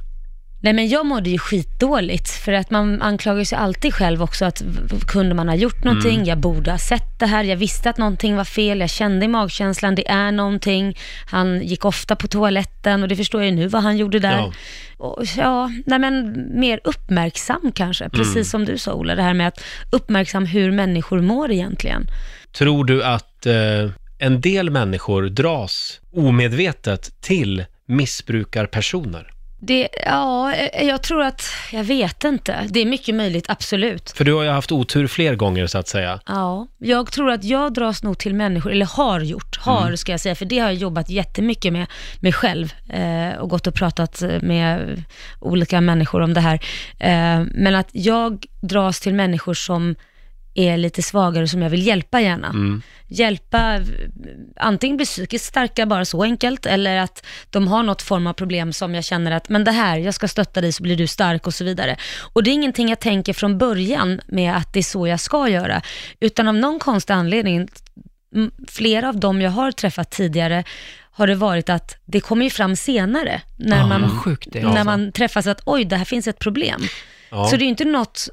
[SPEAKER 2] Nej men jag mådde ju skitdåligt för att man anklagar sig alltid själv också att v- v- kunde man ha gjort någonting, jag borde ha sett det här, jag visste att någonting var fel, jag kände i magkänslan, det är någonting. Han gick ofta på toaletten och det förstår jag ju nu vad han gjorde där.
[SPEAKER 3] Ja.
[SPEAKER 2] Och, ja, nej men mer uppmärksam kanske, precis som du sa Ola, det här med att uppmärksam hur människor mår egentligen.
[SPEAKER 3] Tror du att eh, en del människor dras omedvetet till missbrukarpersoner?
[SPEAKER 2] Det, ja, eh, jag tror att, jag vet inte, det är mycket möjligt, absolut.
[SPEAKER 3] För du har ju haft otur fler gånger så att säga.
[SPEAKER 2] Ja, jag tror att jag dras nog till människor, eller har gjort, har ska jag säga, för det har jag jobbat jättemycket med mig själv eh, och gått och pratat med olika människor om det här. Eh, men att jag dras till människor som är lite svagare och som jag vill hjälpa gärna. Hjälpa, eh, antingen bli psykiskt starka, bara så enkelt, eller att de har något form av problem som jag känner att, men det här, jag ska stötta dig så blir du stark och så vidare. Och det är ingenting jag tänker från början med att det är så jag ska göra, utan av någon konstig anledning, m- flera av dem jag har träffat tidigare, har det varit att det kommer ju fram senare, när, man,
[SPEAKER 4] vad sjukt det är,
[SPEAKER 2] när
[SPEAKER 4] alltså.
[SPEAKER 2] man träffas, att oj, det här finns ett problem.
[SPEAKER 3] Ja.
[SPEAKER 2] Så det är ju inte något,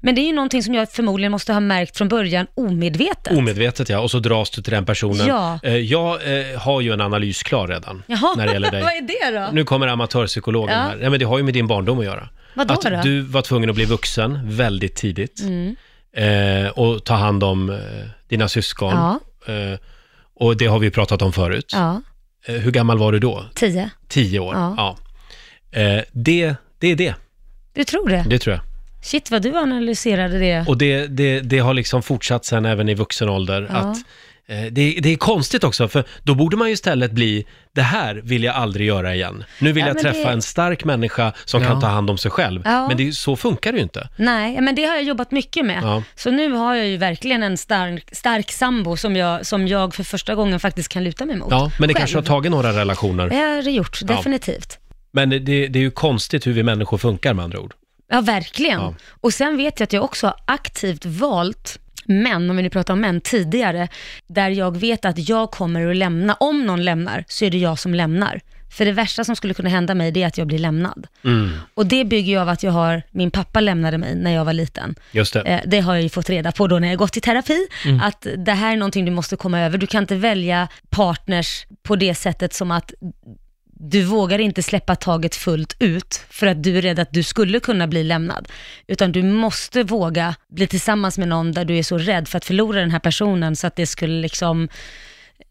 [SPEAKER 2] men det är ju någonting som jag förmodligen måste ha märkt från början omedvetet.
[SPEAKER 3] Omedvetet ja, och så dras du till den personen.
[SPEAKER 2] Ja.
[SPEAKER 3] Eh, jag eh, har ju en analys klar redan
[SPEAKER 2] Jaha,
[SPEAKER 3] när det gäller
[SPEAKER 2] [LAUGHS] vad
[SPEAKER 3] dig.
[SPEAKER 2] är det då?
[SPEAKER 3] Nu kommer amatörpsykologen
[SPEAKER 2] Ja.
[SPEAKER 3] här. Nej, men det har ju med din barndom att göra.
[SPEAKER 2] Vadå
[SPEAKER 3] att
[SPEAKER 2] då?
[SPEAKER 3] du var tvungen att bli vuxen väldigt tidigt eh, och ta hand om eh, dina syskon.
[SPEAKER 2] Ja.
[SPEAKER 3] Eh, och det har vi pratat om förut.
[SPEAKER 2] Ja,
[SPEAKER 3] Eh, hur gammal var du då?
[SPEAKER 2] tio.
[SPEAKER 3] Tio år?
[SPEAKER 2] Ja.
[SPEAKER 3] Ja. Eh, det, det är det,
[SPEAKER 2] Du tror det?
[SPEAKER 3] det tror jag.
[SPEAKER 2] Shit vad du analyserade det.
[SPEAKER 3] Och det, det, det har liksom fortsatt sen även i vuxen ålder.
[SPEAKER 2] Ja.
[SPEAKER 3] Att, eh, det, det är konstigt också, för då borde man ju istället bli, det här vill jag aldrig göra igen. Nu vill
[SPEAKER 2] Ja,
[SPEAKER 3] jag
[SPEAKER 2] men
[SPEAKER 3] träffa
[SPEAKER 2] det-
[SPEAKER 3] en stark människa som
[SPEAKER 4] Ja.
[SPEAKER 3] kan ta hand om sig själv.
[SPEAKER 2] Ja.
[SPEAKER 3] Men det, är ju- så funkar det ju inte.
[SPEAKER 2] Nej, men det har jag jobbat mycket med.
[SPEAKER 3] Ja.
[SPEAKER 2] Så nu har jag ju verkligen en stark, stark sambo som jag, som jag för första gången faktiskt kan luta mig mot.
[SPEAKER 3] Ja, men det
[SPEAKER 2] Själv. Eh.
[SPEAKER 3] kanske har tagit några relationer.
[SPEAKER 2] Det har det gjort,
[SPEAKER 3] Ja.
[SPEAKER 2] definitivt.
[SPEAKER 3] Men det, det är ju konstigt hur vi människor funkar med andra ord.
[SPEAKER 2] Ja, verkligen.
[SPEAKER 3] Ja.
[SPEAKER 2] Och sen vet jag att jag också har aktivt valt män, om vi nu pratar om män, tidigare, där jag vet att jag kommer att lämna. Om någon lämnar, så är det jag som lämnar. För det värsta som skulle kunna hända mig, det är att jag blir lämnad. Och det bygger jag av att jag har, min pappa lämnade mig när jag var liten.
[SPEAKER 3] Just det. Mm.
[SPEAKER 2] Eh, Det har jag ju fått reda på då när jag gått i terapi, att det här är någonting du måste komma över. Du kan inte välja partners på det sättet som att du vågar inte släppa taget fullt ut för att du är rädd att du skulle kunna bli lämnad. Utan du måste våga bli tillsammans med någon där du är så rädd för att förlora den här personen så att det skulle liksom,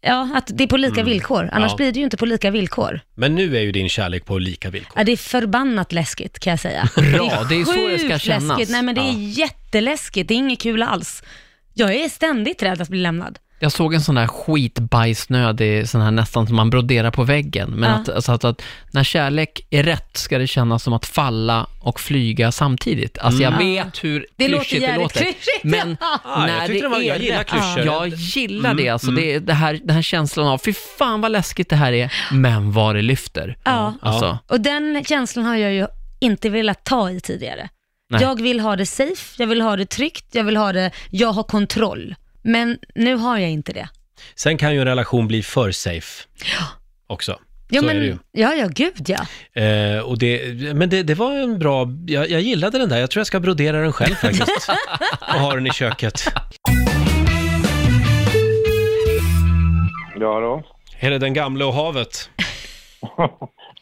[SPEAKER 2] ja, att det är på lika villkor. Annars
[SPEAKER 3] Mm. Ja.
[SPEAKER 2] blir det ju inte på lika villkor.
[SPEAKER 3] Men nu är ju din kärlek på lika villkor.
[SPEAKER 2] Ja, det är förbannat läskigt kan jag
[SPEAKER 4] [LAUGHS]
[SPEAKER 2] säga.
[SPEAKER 4] det är ju så det ska
[SPEAKER 2] sjukt
[SPEAKER 4] kännas.
[SPEAKER 2] Läskigt. Nej men det är
[SPEAKER 3] Ja.
[SPEAKER 2] jätteläskigt, det är inget kul alls. Jag är ständigt rädd att bli lämnad.
[SPEAKER 4] Jag såg en sån där skitbajsnödig, sån här nästan som man broderar på väggen. Men
[SPEAKER 2] Ja.
[SPEAKER 4] att, alltså att, att när kärlek är rätt ska det kännas som att falla och flyga samtidigt. Alltså jag vet hur
[SPEAKER 2] Mm. Det låter
[SPEAKER 4] klyschigt det
[SPEAKER 2] jävligt
[SPEAKER 4] låter.
[SPEAKER 2] klyschigt,
[SPEAKER 4] Men
[SPEAKER 2] ja.
[SPEAKER 3] Ah, jag
[SPEAKER 4] när
[SPEAKER 3] tyckte
[SPEAKER 4] det
[SPEAKER 3] det var-
[SPEAKER 4] är
[SPEAKER 3] jag gillar
[SPEAKER 4] rätt,
[SPEAKER 3] klyschor. Mm.
[SPEAKER 4] Jag gillar det alltså. Det, är det här, den här känslan av, fy fan vad läskigt det här är, men vad det lyfter.
[SPEAKER 2] Ja.
[SPEAKER 4] Alltså,
[SPEAKER 2] Och den känslan har jag ju inte velat ta i tidigare.
[SPEAKER 4] Nej.
[SPEAKER 2] Jag vill ha det safe, jag vill ha det tryggt, jag vill ha det, jag har kontroll. Men nu har jag inte det.
[SPEAKER 3] Sen kan ju en relation bli för safe också.
[SPEAKER 2] Ja,
[SPEAKER 3] Så
[SPEAKER 2] men,
[SPEAKER 3] är det ju.
[SPEAKER 2] ja, ja, gud ja.
[SPEAKER 3] Eh, och det, men det, det var en bra, jag, jag gillade den där. Jag tror jag ska brodera den själv faktiskt. och ha den i köket.
[SPEAKER 5] Ja då.
[SPEAKER 3] Är det den gamle och havet?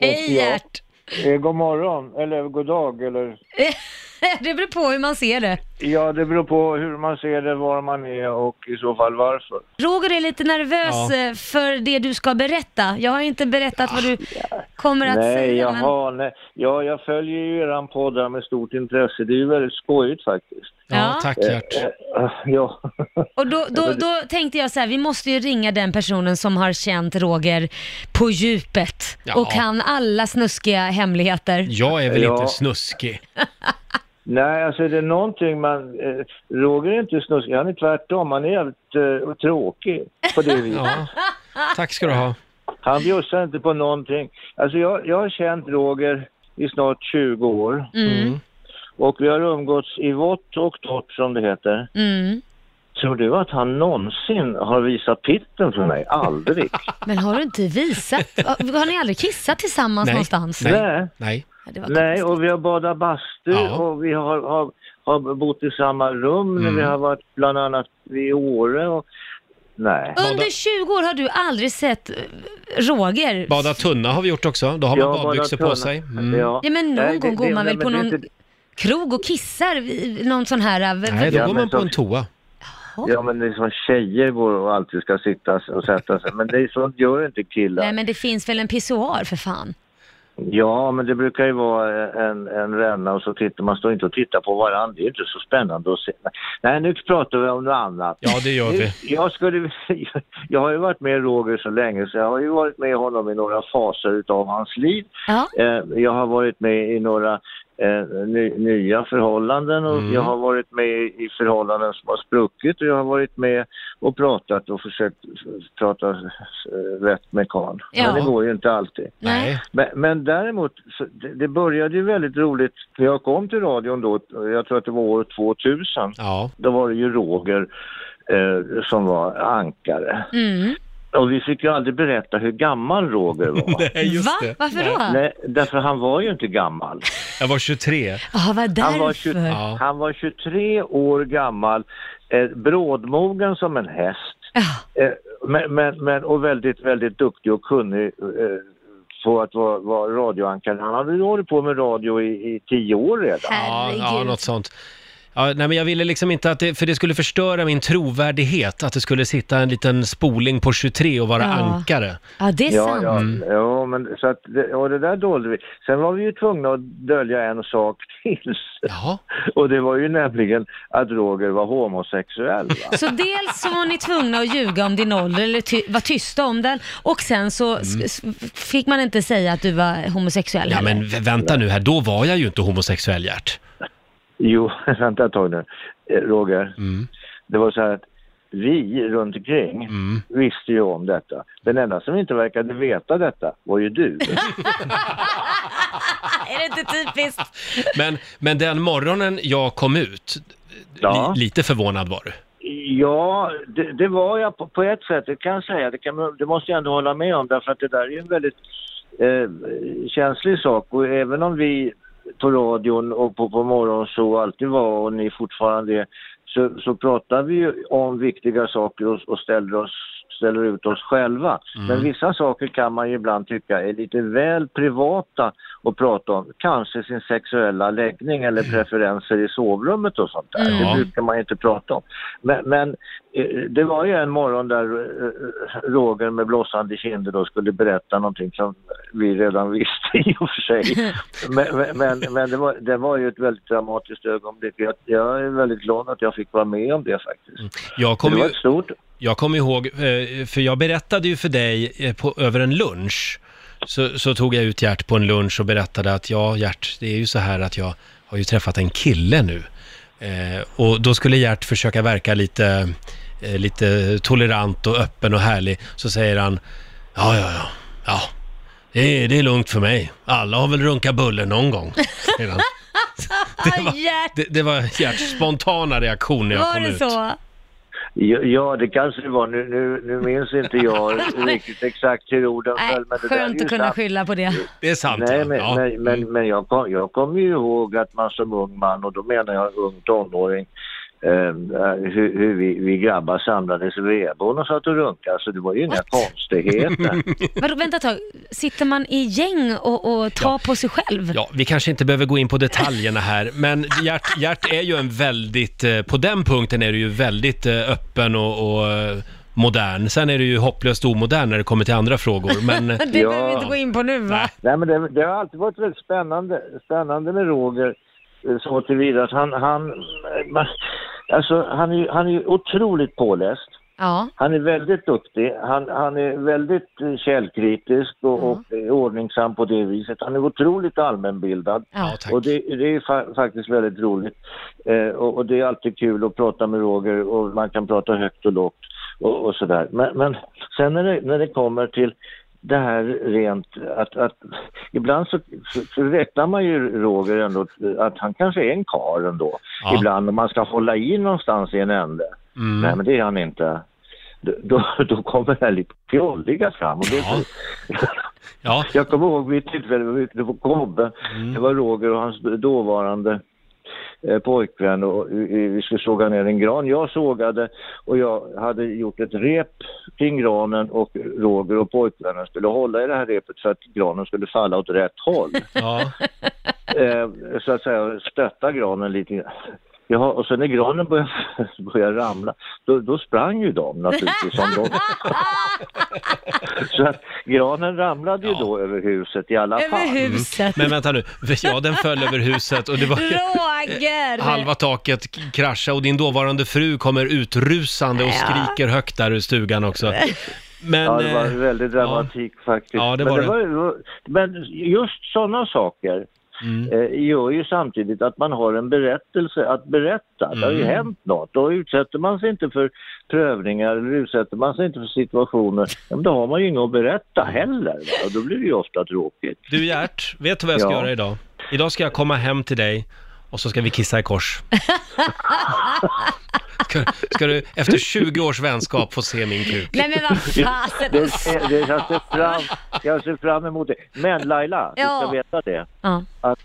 [SPEAKER 2] Hej
[SPEAKER 5] Ja.
[SPEAKER 2] Gert!
[SPEAKER 5] Eh, god morgon, eller god dag, eller
[SPEAKER 2] [LAUGHS] det beror på hur man ser det.
[SPEAKER 5] Ja, det beror på hur man ser det, var man är och i så fall varför.
[SPEAKER 2] Roger är lite nervös
[SPEAKER 3] Ja.
[SPEAKER 2] eh, för det du ska berätta. Jag har inte berättat vad du kommer att
[SPEAKER 5] Nej,
[SPEAKER 2] säga. men-
[SPEAKER 5] jaha, nej. Ja, jag följer ju eran podd där med stort intresse. Det är ju väldigt skojigt faktiskt.
[SPEAKER 3] Ja,
[SPEAKER 2] Ja.
[SPEAKER 3] tack Gert.
[SPEAKER 5] Eh, Ja, [LAUGHS]
[SPEAKER 2] Och då, då, då tänkte jag så här, vi måste ju ringa den personen som har känt Roger på djupet
[SPEAKER 3] Ja.
[SPEAKER 2] och kan alla snuskiga hemligheter.
[SPEAKER 3] Jag är väl
[SPEAKER 5] Ja.
[SPEAKER 3] inte snuskig?
[SPEAKER 5] nej, alltså det är någonting man... eh, Roger är inte snuskig, han är tvärtom. Han är jävligt eh, tråkig
[SPEAKER 2] [LAUGHS]
[SPEAKER 5] på det viset.
[SPEAKER 3] Ja. Tack ska du ha.
[SPEAKER 5] Han bjussar inte på någonting. Alltså jag, jag har känt Roger i snart 20 år
[SPEAKER 2] Mm.
[SPEAKER 5] och vi har umgåtts i vått och torrt som det heter.
[SPEAKER 2] Mm.
[SPEAKER 5] Tror du att han någonsin har visat pitten för mig? Aldrig.
[SPEAKER 2] Men har du inte visat? Har ni aldrig kissat tillsammans
[SPEAKER 3] Nej.
[SPEAKER 2] någonstans?
[SPEAKER 3] [LAUGHS] Nej. Nej.
[SPEAKER 5] Nej.
[SPEAKER 2] Ja, det var
[SPEAKER 5] Nej,
[SPEAKER 2] konstigt.
[SPEAKER 5] och vi har badat bastu
[SPEAKER 3] Ja. Mm.
[SPEAKER 5] och vi har, har, har bott i samma rum. när Vi har varit bland annat i Åre och... Nej.
[SPEAKER 2] Under 20 år har du aldrig sett eh, Roger.
[SPEAKER 3] Bada tunna har vi gjort också. Då har man
[SPEAKER 5] Jag har
[SPEAKER 3] badbyxor
[SPEAKER 5] badat
[SPEAKER 3] på sig.
[SPEAKER 5] tunna.
[SPEAKER 3] Mm.
[SPEAKER 5] Ja.
[SPEAKER 2] Ja, men någon
[SPEAKER 5] Nej,
[SPEAKER 2] gång går man
[SPEAKER 5] nej,
[SPEAKER 2] väl på
[SPEAKER 5] men det är
[SPEAKER 2] någon-
[SPEAKER 5] inte-
[SPEAKER 2] Krog och kissar, i någon sån här... eh,
[SPEAKER 3] Nej, då
[SPEAKER 5] Ja,
[SPEAKER 3] går
[SPEAKER 5] men
[SPEAKER 3] man på
[SPEAKER 5] så-
[SPEAKER 3] en toa.
[SPEAKER 5] Ja, men det är som tjejer går och alltid ska sitta och sätta sig. Men det är sånt gör inte killar.
[SPEAKER 2] Nej men det finns väl en pissoar för fan?
[SPEAKER 5] Ja, men det brukar ju vara en, en ränna och så tittar man står inte och tittar på varandra. Det är ju inte så spännande att se. Nej, nu pratar vi om något annat.
[SPEAKER 3] Ja, det
[SPEAKER 5] [LAUGHS]
[SPEAKER 3] gör vi.
[SPEAKER 5] Jag, skulle, [LAUGHS] jag har ju varit med Roger så länge så jag har ju varit med honom i några faser utav hans liv.
[SPEAKER 2] Ja.
[SPEAKER 5] Eh, Jag har varit med i några eh, ny, nya förhållanden och jag har varit med i förhållanden som har spruckit och jag har varit med och pratat och försökt f- prata eh, rätt med karln.
[SPEAKER 2] Ja.
[SPEAKER 5] Men det går ju inte alltid.
[SPEAKER 3] Nej.
[SPEAKER 5] Men, men däremot, så det, det började ju väldigt roligt. När jag kom till radion då, jag tror att det var år 2000,
[SPEAKER 3] Ja.
[SPEAKER 5] då var det ju Roger eh, som var ankare.
[SPEAKER 2] Mm.
[SPEAKER 5] Och vi fick ju aldrig berätta hur gammal Roger var.
[SPEAKER 3] Nej,
[SPEAKER 2] Va? Varför då?
[SPEAKER 5] Nej, därför han var ju inte gammal.
[SPEAKER 3] Jag var 23.
[SPEAKER 2] Ja, vad därför?
[SPEAKER 5] Han var, 20,
[SPEAKER 3] Ja.
[SPEAKER 5] han var 23 år gammal, eh, brådmogen som en häst
[SPEAKER 2] Ja.
[SPEAKER 5] eh, men, men, men, och väldigt, väldigt duktig och kunnig eh, på att vara, vara radioankare. Han hade ju hållit på med radio i, i tio år redan.
[SPEAKER 3] Ja,
[SPEAKER 2] Herregud.
[SPEAKER 3] ja, något sånt. Ja, nej, men jag ville liksom inte att det, för det skulle förstöra min trovärdighet att det skulle sitta en liten spoling på 23 och vara
[SPEAKER 2] Ja.
[SPEAKER 3] ankare.
[SPEAKER 2] ja, det är
[SPEAKER 5] Ja,
[SPEAKER 2] sant.
[SPEAKER 5] ja, ja, men så att, det- och det där dolde vi. Sen var vi ju tvungna att dölja en sak [LAUGHS] till.
[SPEAKER 3] Jaha.
[SPEAKER 5] Och det var ju nämligen att Roger var homosexuell. Va?
[SPEAKER 2] Så dels så var ni tvungna att ljuga om din ålder eller ty- vara tysta om den och sen så s- s- fick man inte säga att du var homosexuell
[SPEAKER 3] Mm. Ja,
[SPEAKER 2] heller.
[SPEAKER 3] men vä- vänta nu här, då var jag ju inte homosexuell, Gert.
[SPEAKER 5] Jo, [LAUGHS] vänta ett tag nu. Eh, Roger, det var så här att vi runt omkring visste ju om detta. Den enda som inte verkade veta detta var ju du.
[SPEAKER 2] Ah, Är det inte typiskt?
[SPEAKER 3] Men, men den morgonen jag kom ut,
[SPEAKER 5] Ja.
[SPEAKER 3] li, lite förvånad var du.
[SPEAKER 5] Ja, det, det var jag på, på ett sätt, det kan jag säga. Det, kan, man- det måste jag ändå hålla med om därför att det där är ju en väldigt eh, känslig sak och även om vi på radion och på, på morgon så alltid var och ni fortfarande är så, så pratar vi ju om viktiga saker och, och ställer, oss, ställer ut oss själva. Men vissa saker kan man ju ibland tycka är lite väl privata att prata om. Kanske sin sexuella läggning eller preferenser i sovrummet och sånt där.
[SPEAKER 3] Ja.
[SPEAKER 5] Det brukar man ju inte prata om. Men, men eh, det var ju en morgon där eh, Roger med blossande kinder då skulle berätta någonting som vi redan [LAUGHS] visste i och för sig. Men, men- men, men det, var, det var ju ett väldigt dramatiskt ögonblick. Jag, jag är väldigt glad att jag fick vara med om det
[SPEAKER 2] Mm.
[SPEAKER 5] faktiskt.
[SPEAKER 3] Jag kom,
[SPEAKER 5] det var
[SPEAKER 3] ju,
[SPEAKER 5] ett stort...
[SPEAKER 3] jag kom ihåg, eh, för jag berättade ju för dig eh, på, över en lunch, så, så tog jag ut Gert på en lunch och berättade att ja, Gert, det är ju så här att jag har ju träffat en kille nu. Eh, och då skulle Gert försöka verka lite, eh, lite tolerant och öppen och härlig. Så säger han, ja, ja, ja, ja, det är, det är lugnt för mig. Alla har väl runkat bullen någon gång, [LAUGHS] säger han.
[SPEAKER 2] Det var, Ah, Hjärt,
[SPEAKER 3] [LAUGHS] Det, det var Gerts spontana reaktion när jag
[SPEAKER 2] var
[SPEAKER 3] kom
[SPEAKER 2] det
[SPEAKER 3] ut.
[SPEAKER 2] så?
[SPEAKER 5] Ja, Ja, det kanske det var. Nu, nu, nu minns inte
[SPEAKER 2] [LAUGHS]
[SPEAKER 5] jag riktigt exakt hur orden
[SPEAKER 2] Nej,
[SPEAKER 5] föll. Men det där är
[SPEAKER 2] skönt
[SPEAKER 5] ju
[SPEAKER 2] att kunna Mm.
[SPEAKER 5] sant.
[SPEAKER 2] skylla på det.
[SPEAKER 3] Det är sant.
[SPEAKER 5] Nej,
[SPEAKER 3] ja.
[SPEAKER 5] men,
[SPEAKER 3] ja.
[SPEAKER 5] nej, men, men jag kommer jag kom ju ihåg att man som ung man, och då menar jag ung tonåring, eh, hur, hur vi, vi grabbar samlades i vedboden och satt och runkade. Så det var ju inga
[SPEAKER 2] What?
[SPEAKER 5] konstigheter.
[SPEAKER 2] Vadå, vänta ett tag. Sitter man i gäng och, och tar på sig själv?
[SPEAKER 3] Ja, vi kanske inte behöver gå in på detaljerna här, men Gert, Gert är ju en väldigt, eh, på den punkten är du ju väldigt eh, öppen och, och eh, modern. Sen är du ju hopplöst omodern när det kommer till andra frågor, men eh,
[SPEAKER 2] Det
[SPEAKER 5] Ja.
[SPEAKER 2] behöver vi inte gå in på nu va?
[SPEAKER 5] Nej, men det, det har alltid varit väldigt spännande, spännande med Roger eh, så tillvida att han, han, eh, man, alltså, han, är, ju- han är ju otroligt påläst.
[SPEAKER 2] Ja.
[SPEAKER 5] Han är väldigt duktig. Han, han är väldigt eh, källkritisk och,
[SPEAKER 2] Ja.
[SPEAKER 5] och eh, ordningsam på det viset. Han är otroligt allmänbildad.
[SPEAKER 2] ja.
[SPEAKER 3] tack.
[SPEAKER 5] Och det, det är fa- faktiskt väldigt roligt. Eh, och, och det är alltid kul att prata med Roger och man kan prata högt och lågt och, och sådär. Men, men sen när det, när det kommer till det här rent att, att ibland så, så, så räknar man ju Roger ändå att han kanske är en karl ändå.
[SPEAKER 3] Ja. Mm.
[SPEAKER 5] Ibland om man ska hålla i någonstans i en ände. Nej men det är han inte. Då- Då, då kommer det här lite fjolliga fram. Och det,
[SPEAKER 3] Ja. ja,
[SPEAKER 5] jag kommer ihåg vid ett tillfälle, vi var ute på Kobbe. Det var Roger och hans dåvarande eh, pojkvän och vi vi skulle såga ner en gran. Jag sågade och jag hade gjort ett rep kring granen och Roger och pojkvännen skulle hålla i det här repet för att granen skulle falla åt rätt håll.
[SPEAKER 3] ja,
[SPEAKER 5] eh, så att säga stötta granen lite grann. Ja, och sen när granen började, [LAUGHS] började ramla, då, då sprang ju de naturligtvis. Som de. [LAUGHS] Så att granen ramlade ju
[SPEAKER 3] Ja.
[SPEAKER 5] då över huset i alla fall.
[SPEAKER 2] Över huset.
[SPEAKER 3] men vänta nu. Ja, den föll över huset och det var ju
[SPEAKER 2] Roger!
[SPEAKER 3] Mm. halva taket k- krascha och din dåvarande fru kommer utrusande och
[SPEAKER 2] Ja.
[SPEAKER 3] skriker högt där ur stugan också. Men,
[SPEAKER 5] Ja, det var
[SPEAKER 3] eh,
[SPEAKER 5] väldigt dramatik faktiskt.
[SPEAKER 3] Ja, det var
[SPEAKER 5] men, var, men just sådana saker
[SPEAKER 3] mm.
[SPEAKER 5] eh, gör ju samtidigt att man har en berättelse att berätta. Det har ju hänt något. Då utsätter man sig inte för prövningar eller utsätter man sig inte för situationer. Ja, men då har man ju inget att berätta heller. va? Och då blir det ju ofta tråkigt.
[SPEAKER 3] Du Gert, vet du vad jag ska
[SPEAKER 5] Ja.
[SPEAKER 3] göra idag? Idag ska jag komma hem till dig och så ska vi kissa i
[SPEAKER 5] [LAUGHS]
[SPEAKER 3] kors. Ska, ska du efter 20 års vänskap få se min kuk?
[SPEAKER 2] Nej
[SPEAKER 5] [LAUGHS]
[SPEAKER 2] men vad fasen.
[SPEAKER 5] Det, eh, det, jag, ser fram, jag ser fram emot det. Men Laila, du
[SPEAKER 2] Ja.
[SPEAKER 5] ska veta det.
[SPEAKER 2] Ja.
[SPEAKER 5] att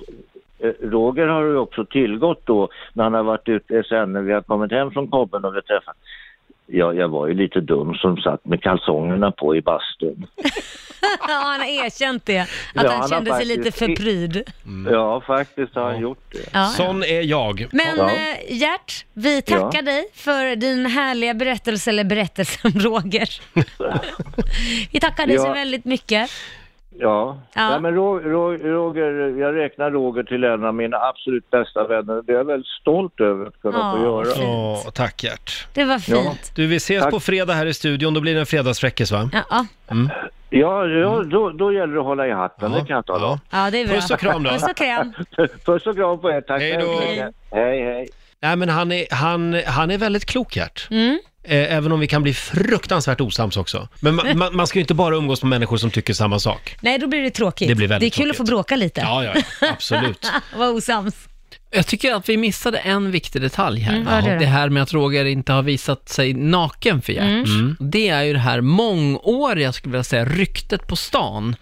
[SPEAKER 5] eh, Roger har ju också tillgått då när han har varit ute sen när vi har kommit hem från kobben och vi träffat. Ja, jag var ju lite dum som satt med kalsongerna på i bastun.
[SPEAKER 2] ja, han har erkänt det. Att
[SPEAKER 5] Ja,
[SPEAKER 2] han
[SPEAKER 5] han
[SPEAKER 2] kände
[SPEAKER 5] har
[SPEAKER 2] sig lite
[SPEAKER 5] faktiskt-
[SPEAKER 2] för pryd.
[SPEAKER 5] Ja, faktiskt har han gjort det.
[SPEAKER 2] Ja.
[SPEAKER 3] Sån är jag.
[SPEAKER 2] Men
[SPEAKER 5] Ja.
[SPEAKER 2] eh, Gert, vi tackar
[SPEAKER 5] Ja.
[SPEAKER 2] dig för din härliga berättelse, eller berättelse om
[SPEAKER 5] [LAUGHS]
[SPEAKER 2] Roger. vi tackar dig så
[SPEAKER 5] Ja.
[SPEAKER 2] väldigt mycket.
[SPEAKER 5] Ja.
[SPEAKER 2] Ja.
[SPEAKER 5] Nej, men Ro- Ro- Roger, jag räknar Roger till en av mina absolut bästa vänner. Det är jag väldigt stolt över att kunna
[SPEAKER 2] Ja.
[SPEAKER 5] få göra.
[SPEAKER 2] Fint.
[SPEAKER 3] Åh, tack Gert.
[SPEAKER 2] Det var fint.
[SPEAKER 3] Du, vi ses
[SPEAKER 5] Tack.
[SPEAKER 3] på fredag här i studion. Då blir det en fredagsfräckis va?
[SPEAKER 2] Ja. Ja,
[SPEAKER 5] Ja, ja då, då gäller det att hålla i hatten,
[SPEAKER 3] Ja,
[SPEAKER 5] det kan jag tala om.
[SPEAKER 2] ja, det är bra.
[SPEAKER 3] Puss och kram då.
[SPEAKER 2] Puss och kram.
[SPEAKER 5] [LAUGHS] Puss och kram på er, tack.
[SPEAKER 3] Hej då.
[SPEAKER 5] Hej, hej.
[SPEAKER 3] Nej men han är, han, han är väldigt klok Gert.
[SPEAKER 2] Mm.
[SPEAKER 3] Eh, Även om vi kan bli fruktansvärt osams också. Men ma- ma- man ska ju inte bara umgås med människor som tycker samma sak.
[SPEAKER 2] Nej, då blir det tråkigt.
[SPEAKER 3] Det blir
[SPEAKER 2] det är kul
[SPEAKER 3] väldigt
[SPEAKER 2] att få
[SPEAKER 3] tråkigt.
[SPEAKER 2] bråka lite. [LAUGHS]
[SPEAKER 3] Ja, ja, ja, absolut.
[SPEAKER 2] Var osams.
[SPEAKER 4] Jag tycker att vi missade en viktig detalj här.
[SPEAKER 2] vad är det då?
[SPEAKER 4] Mm, det här med att Roger inte har visat sig naken för Gert.
[SPEAKER 3] Mm.
[SPEAKER 4] Det är ju det här mångåriga, skulle jag vilja säga, ryktet på stan.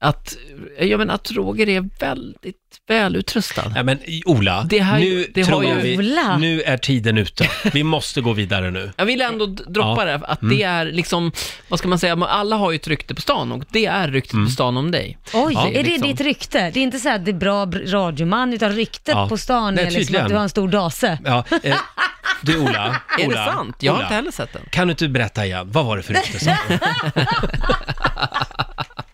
[SPEAKER 4] Att, jag menar, att Roger är väldigt välutrustad.
[SPEAKER 3] Nej men Ola,
[SPEAKER 4] Det här-
[SPEAKER 3] nu
[SPEAKER 4] det har
[SPEAKER 3] tror
[SPEAKER 4] ju-
[SPEAKER 3] jag vi,
[SPEAKER 2] Ola.
[SPEAKER 3] nu är tiden ute. Vi måste gå vidare nu.
[SPEAKER 4] Jag vill ändå d- droppa det, att
[SPEAKER 3] Mm.
[SPEAKER 4] det är liksom, vad ska man säga, alla har ju ett rykte på stan och det är ryktet
[SPEAKER 3] Mm.
[SPEAKER 4] på stan om dig.
[SPEAKER 2] Oj,
[SPEAKER 4] Ja,
[SPEAKER 2] är det
[SPEAKER 4] liksom.
[SPEAKER 2] ditt rykte? Det är inte så att det är bra br- radioman, utan ryktet
[SPEAKER 3] Ja.
[SPEAKER 2] på stan
[SPEAKER 3] Nej,
[SPEAKER 2] är liksom
[SPEAKER 3] tydligen.
[SPEAKER 2] att du har en stor dase.
[SPEAKER 3] Ja, eh,
[SPEAKER 4] [LAUGHS]
[SPEAKER 3] du Ola, Ola,
[SPEAKER 4] Är det sant? Jag har
[SPEAKER 3] Ola,
[SPEAKER 4] inte heller sett den.
[SPEAKER 3] Kan du inte berätta igen, vad var det för rykte
[SPEAKER 4] [LAUGHS]
[SPEAKER 3] som...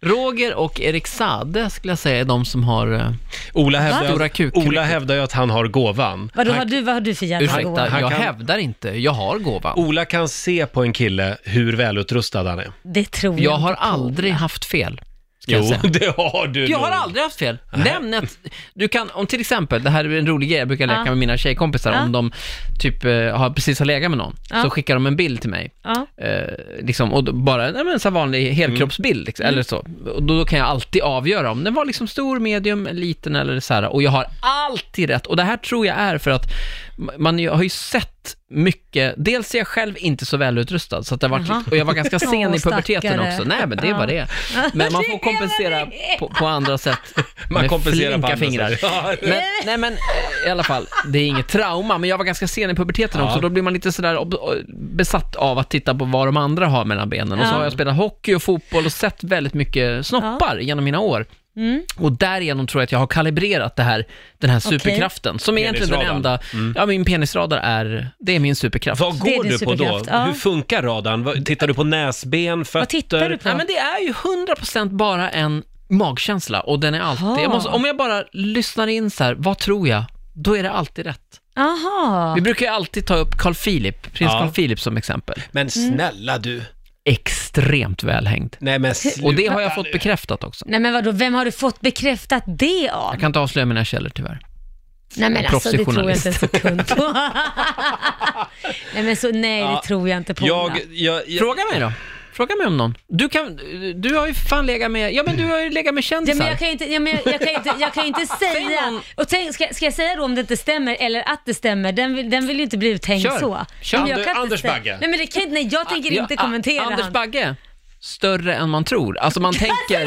[SPEAKER 4] Roger och Erik Sade skulle jag säga är de som har... eh,
[SPEAKER 3] Ola
[SPEAKER 4] Stora
[SPEAKER 3] hävdar,
[SPEAKER 4] kuk-
[SPEAKER 3] Ola hävdar ju att han har gåvan.
[SPEAKER 2] Vad
[SPEAKER 3] Han-
[SPEAKER 2] har du, vad har du för jävla
[SPEAKER 4] Ursäkta,
[SPEAKER 2] gåva?
[SPEAKER 3] han
[SPEAKER 4] jag
[SPEAKER 3] kan-
[SPEAKER 4] hävdar inte. Jag har gåvan.
[SPEAKER 3] Ola kan se på en kille hur välutrustad han är.
[SPEAKER 2] Det tror jag
[SPEAKER 4] Jag har
[SPEAKER 2] inte.
[SPEAKER 4] aldrig haft fel. Ska
[SPEAKER 3] Jo,
[SPEAKER 4] jag
[SPEAKER 3] [LAUGHS]
[SPEAKER 4] säga.
[SPEAKER 3] det har du
[SPEAKER 4] Jag har
[SPEAKER 3] nog.
[SPEAKER 4] aldrig haft fel. Nämn ett, du kan, om till exempel, det här är en rolig grej jag brukar leka
[SPEAKER 2] Ja.
[SPEAKER 4] med mina tjejkompisar,
[SPEAKER 2] Ja.
[SPEAKER 4] om de typ eh, har precis har legat med någon, så skickar de en bild till mig.
[SPEAKER 2] Ja.
[SPEAKER 4] Eh, liksom, och då bara nej, men en sån här vanlig helkroppsbild, liksom,
[SPEAKER 2] Mm.
[SPEAKER 4] eller så. Och då, då kan jag alltid avgöra om den var liksom stor, medium, liten eller så här. Och jag har alltid rätt. Och det här tror jag är för att m- man ju- har ju sett mycket, dels är jag själv inte så välutrustad, så att det har varit,
[SPEAKER 2] Jaha.
[SPEAKER 4] och jag var ganska
[SPEAKER 2] [LAUGHS]
[SPEAKER 4] sen
[SPEAKER 2] Åh,
[SPEAKER 4] i puberteten
[SPEAKER 2] stackare.
[SPEAKER 4] också. Nej men det
[SPEAKER 2] Ja. [LAUGHS]
[SPEAKER 4] var det är. Men man får
[SPEAKER 2] Det är vad
[SPEAKER 4] kompensera
[SPEAKER 2] det är.
[SPEAKER 4] på, på andra sätt.
[SPEAKER 3] Man
[SPEAKER 4] med
[SPEAKER 3] kompenserar på
[SPEAKER 4] flinka
[SPEAKER 3] andra
[SPEAKER 4] fingrar.
[SPEAKER 3] sätt. [LAUGHS] Ja.
[SPEAKER 4] Men, nej men, i alla fall, det är inget trauma, men jag var ganska sen i puberteten
[SPEAKER 3] Ja.
[SPEAKER 4] också. Då blir man lite sådär ob- eh, besatt av att titta på vad de andra har mellan benen. Och så
[SPEAKER 2] Ja.
[SPEAKER 4] har jag spelat hockey och fotboll och sett väldigt mycket snoppar genom mina år.
[SPEAKER 3] Mm.
[SPEAKER 4] Och därigenom tror jag att jag har kalibrerat det här, den här
[SPEAKER 2] Okej.
[SPEAKER 4] superkraften, som är egentligen den
[SPEAKER 3] Penisradar. Mm.
[SPEAKER 4] enda... Ja, min penisradar är... Det är min superkraft.
[SPEAKER 3] Vad
[SPEAKER 2] Det är
[SPEAKER 3] går
[SPEAKER 2] din
[SPEAKER 3] du på då?
[SPEAKER 2] superkraft, ja.
[SPEAKER 3] Hur funkar radarn? Vad- Tittar du på näsben, fötter?
[SPEAKER 2] tittar du på?
[SPEAKER 4] Nej, men det är ju 100% bara en magkänsla och den är
[SPEAKER 2] Aha.
[SPEAKER 4] alltid... Jag måste, om jag bara lyssnar in så här, vad tror jag? Då är det alltid rätt.
[SPEAKER 2] Aha.
[SPEAKER 4] Vi brukar ju alltid ta upp Carl Philip, prins
[SPEAKER 3] Ja.
[SPEAKER 4] Carl Philip som exempel.
[SPEAKER 3] Men
[SPEAKER 4] Mm.
[SPEAKER 3] snälla du!
[SPEAKER 4] Extremt välhängd.
[SPEAKER 3] Nej men sluta
[SPEAKER 4] Och det har jag
[SPEAKER 3] nu.
[SPEAKER 4] fått bekräftat också.
[SPEAKER 2] Nej men vadå, vem har du fått bekräftat det av?
[SPEAKER 4] Jag kan inte avslöja mina källor tyvärr.
[SPEAKER 2] Nej men alltså det
[SPEAKER 4] Proffsig
[SPEAKER 2] tror jag
[SPEAKER 4] journalist.
[SPEAKER 2] inte en sekund på. [LAUGHS] nej men så, nej
[SPEAKER 3] Ja.
[SPEAKER 2] det tror jag inte på.
[SPEAKER 3] jag,
[SPEAKER 2] Ola.
[SPEAKER 3] jag, jag,
[SPEAKER 4] Fråga mig då. Fråga mig om någon. Du kan, du har ju fan legat med, ja men du har ju legat med
[SPEAKER 2] Ja,
[SPEAKER 4] kändisar.
[SPEAKER 2] men jag kan ju inte, ja, men jag, jag kan ju inte, jag kan ju
[SPEAKER 4] [LAUGHS]
[SPEAKER 2] inte säga.
[SPEAKER 4] någon-
[SPEAKER 2] Och tänk, ska, ska jag säga då om det inte stämmer eller att det stämmer? Den vill, den vill ju inte bli uthängd
[SPEAKER 4] Kör.
[SPEAKER 2] så.
[SPEAKER 4] Kör.
[SPEAKER 2] Men jag kan
[SPEAKER 3] Ander-
[SPEAKER 2] inte
[SPEAKER 3] Anders
[SPEAKER 2] säga-
[SPEAKER 3] Bagge.
[SPEAKER 2] Nej men det kan jag inte, nej jag tänker
[SPEAKER 4] Ja,
[SPEAKER 2] inte
[SPEAKER 4] ah,
[SPEAKER 2] kommentera
[SPEAKER 4] Anders
[SPEAKER 2] han.
[SPEAKER 4] Bagge, större än man tror.
[SPEAKER 2] [LAUGHS]
[SPEAKER 4] Alltså man tänker,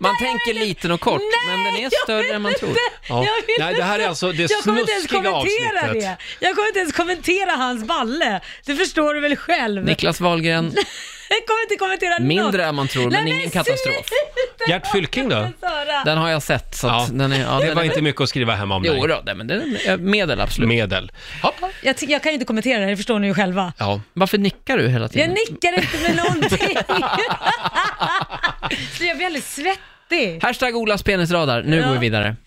[SPEAKER 4] man tänker liten och kort, men den är större än man tror.
[SPEAKER 3] Ja.
[SPEAKER 2] Jag vill
[SPEAKER 3] Nej, det här är alltså det
[SPEAKER 2] jag kommer inte ens
[SPEAKER 3] snuskiga
[SPEAKER 2] kommentera
[SPEAKER 3] avsnittet.
[SPEAKER 2] Det. Jag kommer inte ens kommentera hans balle. Det förstår du väl själv?
[SPEAKER 4] Niklas Wahlgren,
[SPEAKER 2] Jag kommer inte kommentera
[SPEAKER 4] mindre
[SPEAKER 2] något.
[SPEAKER 4] än man tror,
[SPEAKER 2] Nej,
[SPEAKER 4] men ingen katastrof.
[SPEAKER 2] sluta!
[SPEAKER 3] Gert Fylking då?
[SPEAKER 2] Sara.
[SPEAKER 4] Den har jag sett, så
[SPEAKER 3] Ja.
[SPEAKER 4] att den är... Ja,
[SPEAKER 3] Det
[SPEAKER 4] den
[SPEAKER 3] var
[SPEAKER 4] är-
[SPEAKER 3] inte mycket att skriva hem om
[SPEAKER 4] Jo
[SPEAKER 3] dig.
[SPEAKER 4] då, nej, men den är medel absolut.
[SPEAKER 3] Medel.
[SPEAKER 2] Jag, ty- jag kan ju inte kommentera det, här, det förstår ni ju själva.
[SPEAKER 3] Ja.
[SPEAKER 4] Varför nickar du hela
[SPEAKER 2] Jag
[SPEAKER 4] tiden?
[SPEAKER 2] nickar inte med
[SPEAKER 4] [LAUGHS]
[SPEAKER 2] någonting. [LAUGHS] Så jag blir alldeles svettig.
[SPEAKER 4] Hashtag Olas penisradar, nu går vi vidare.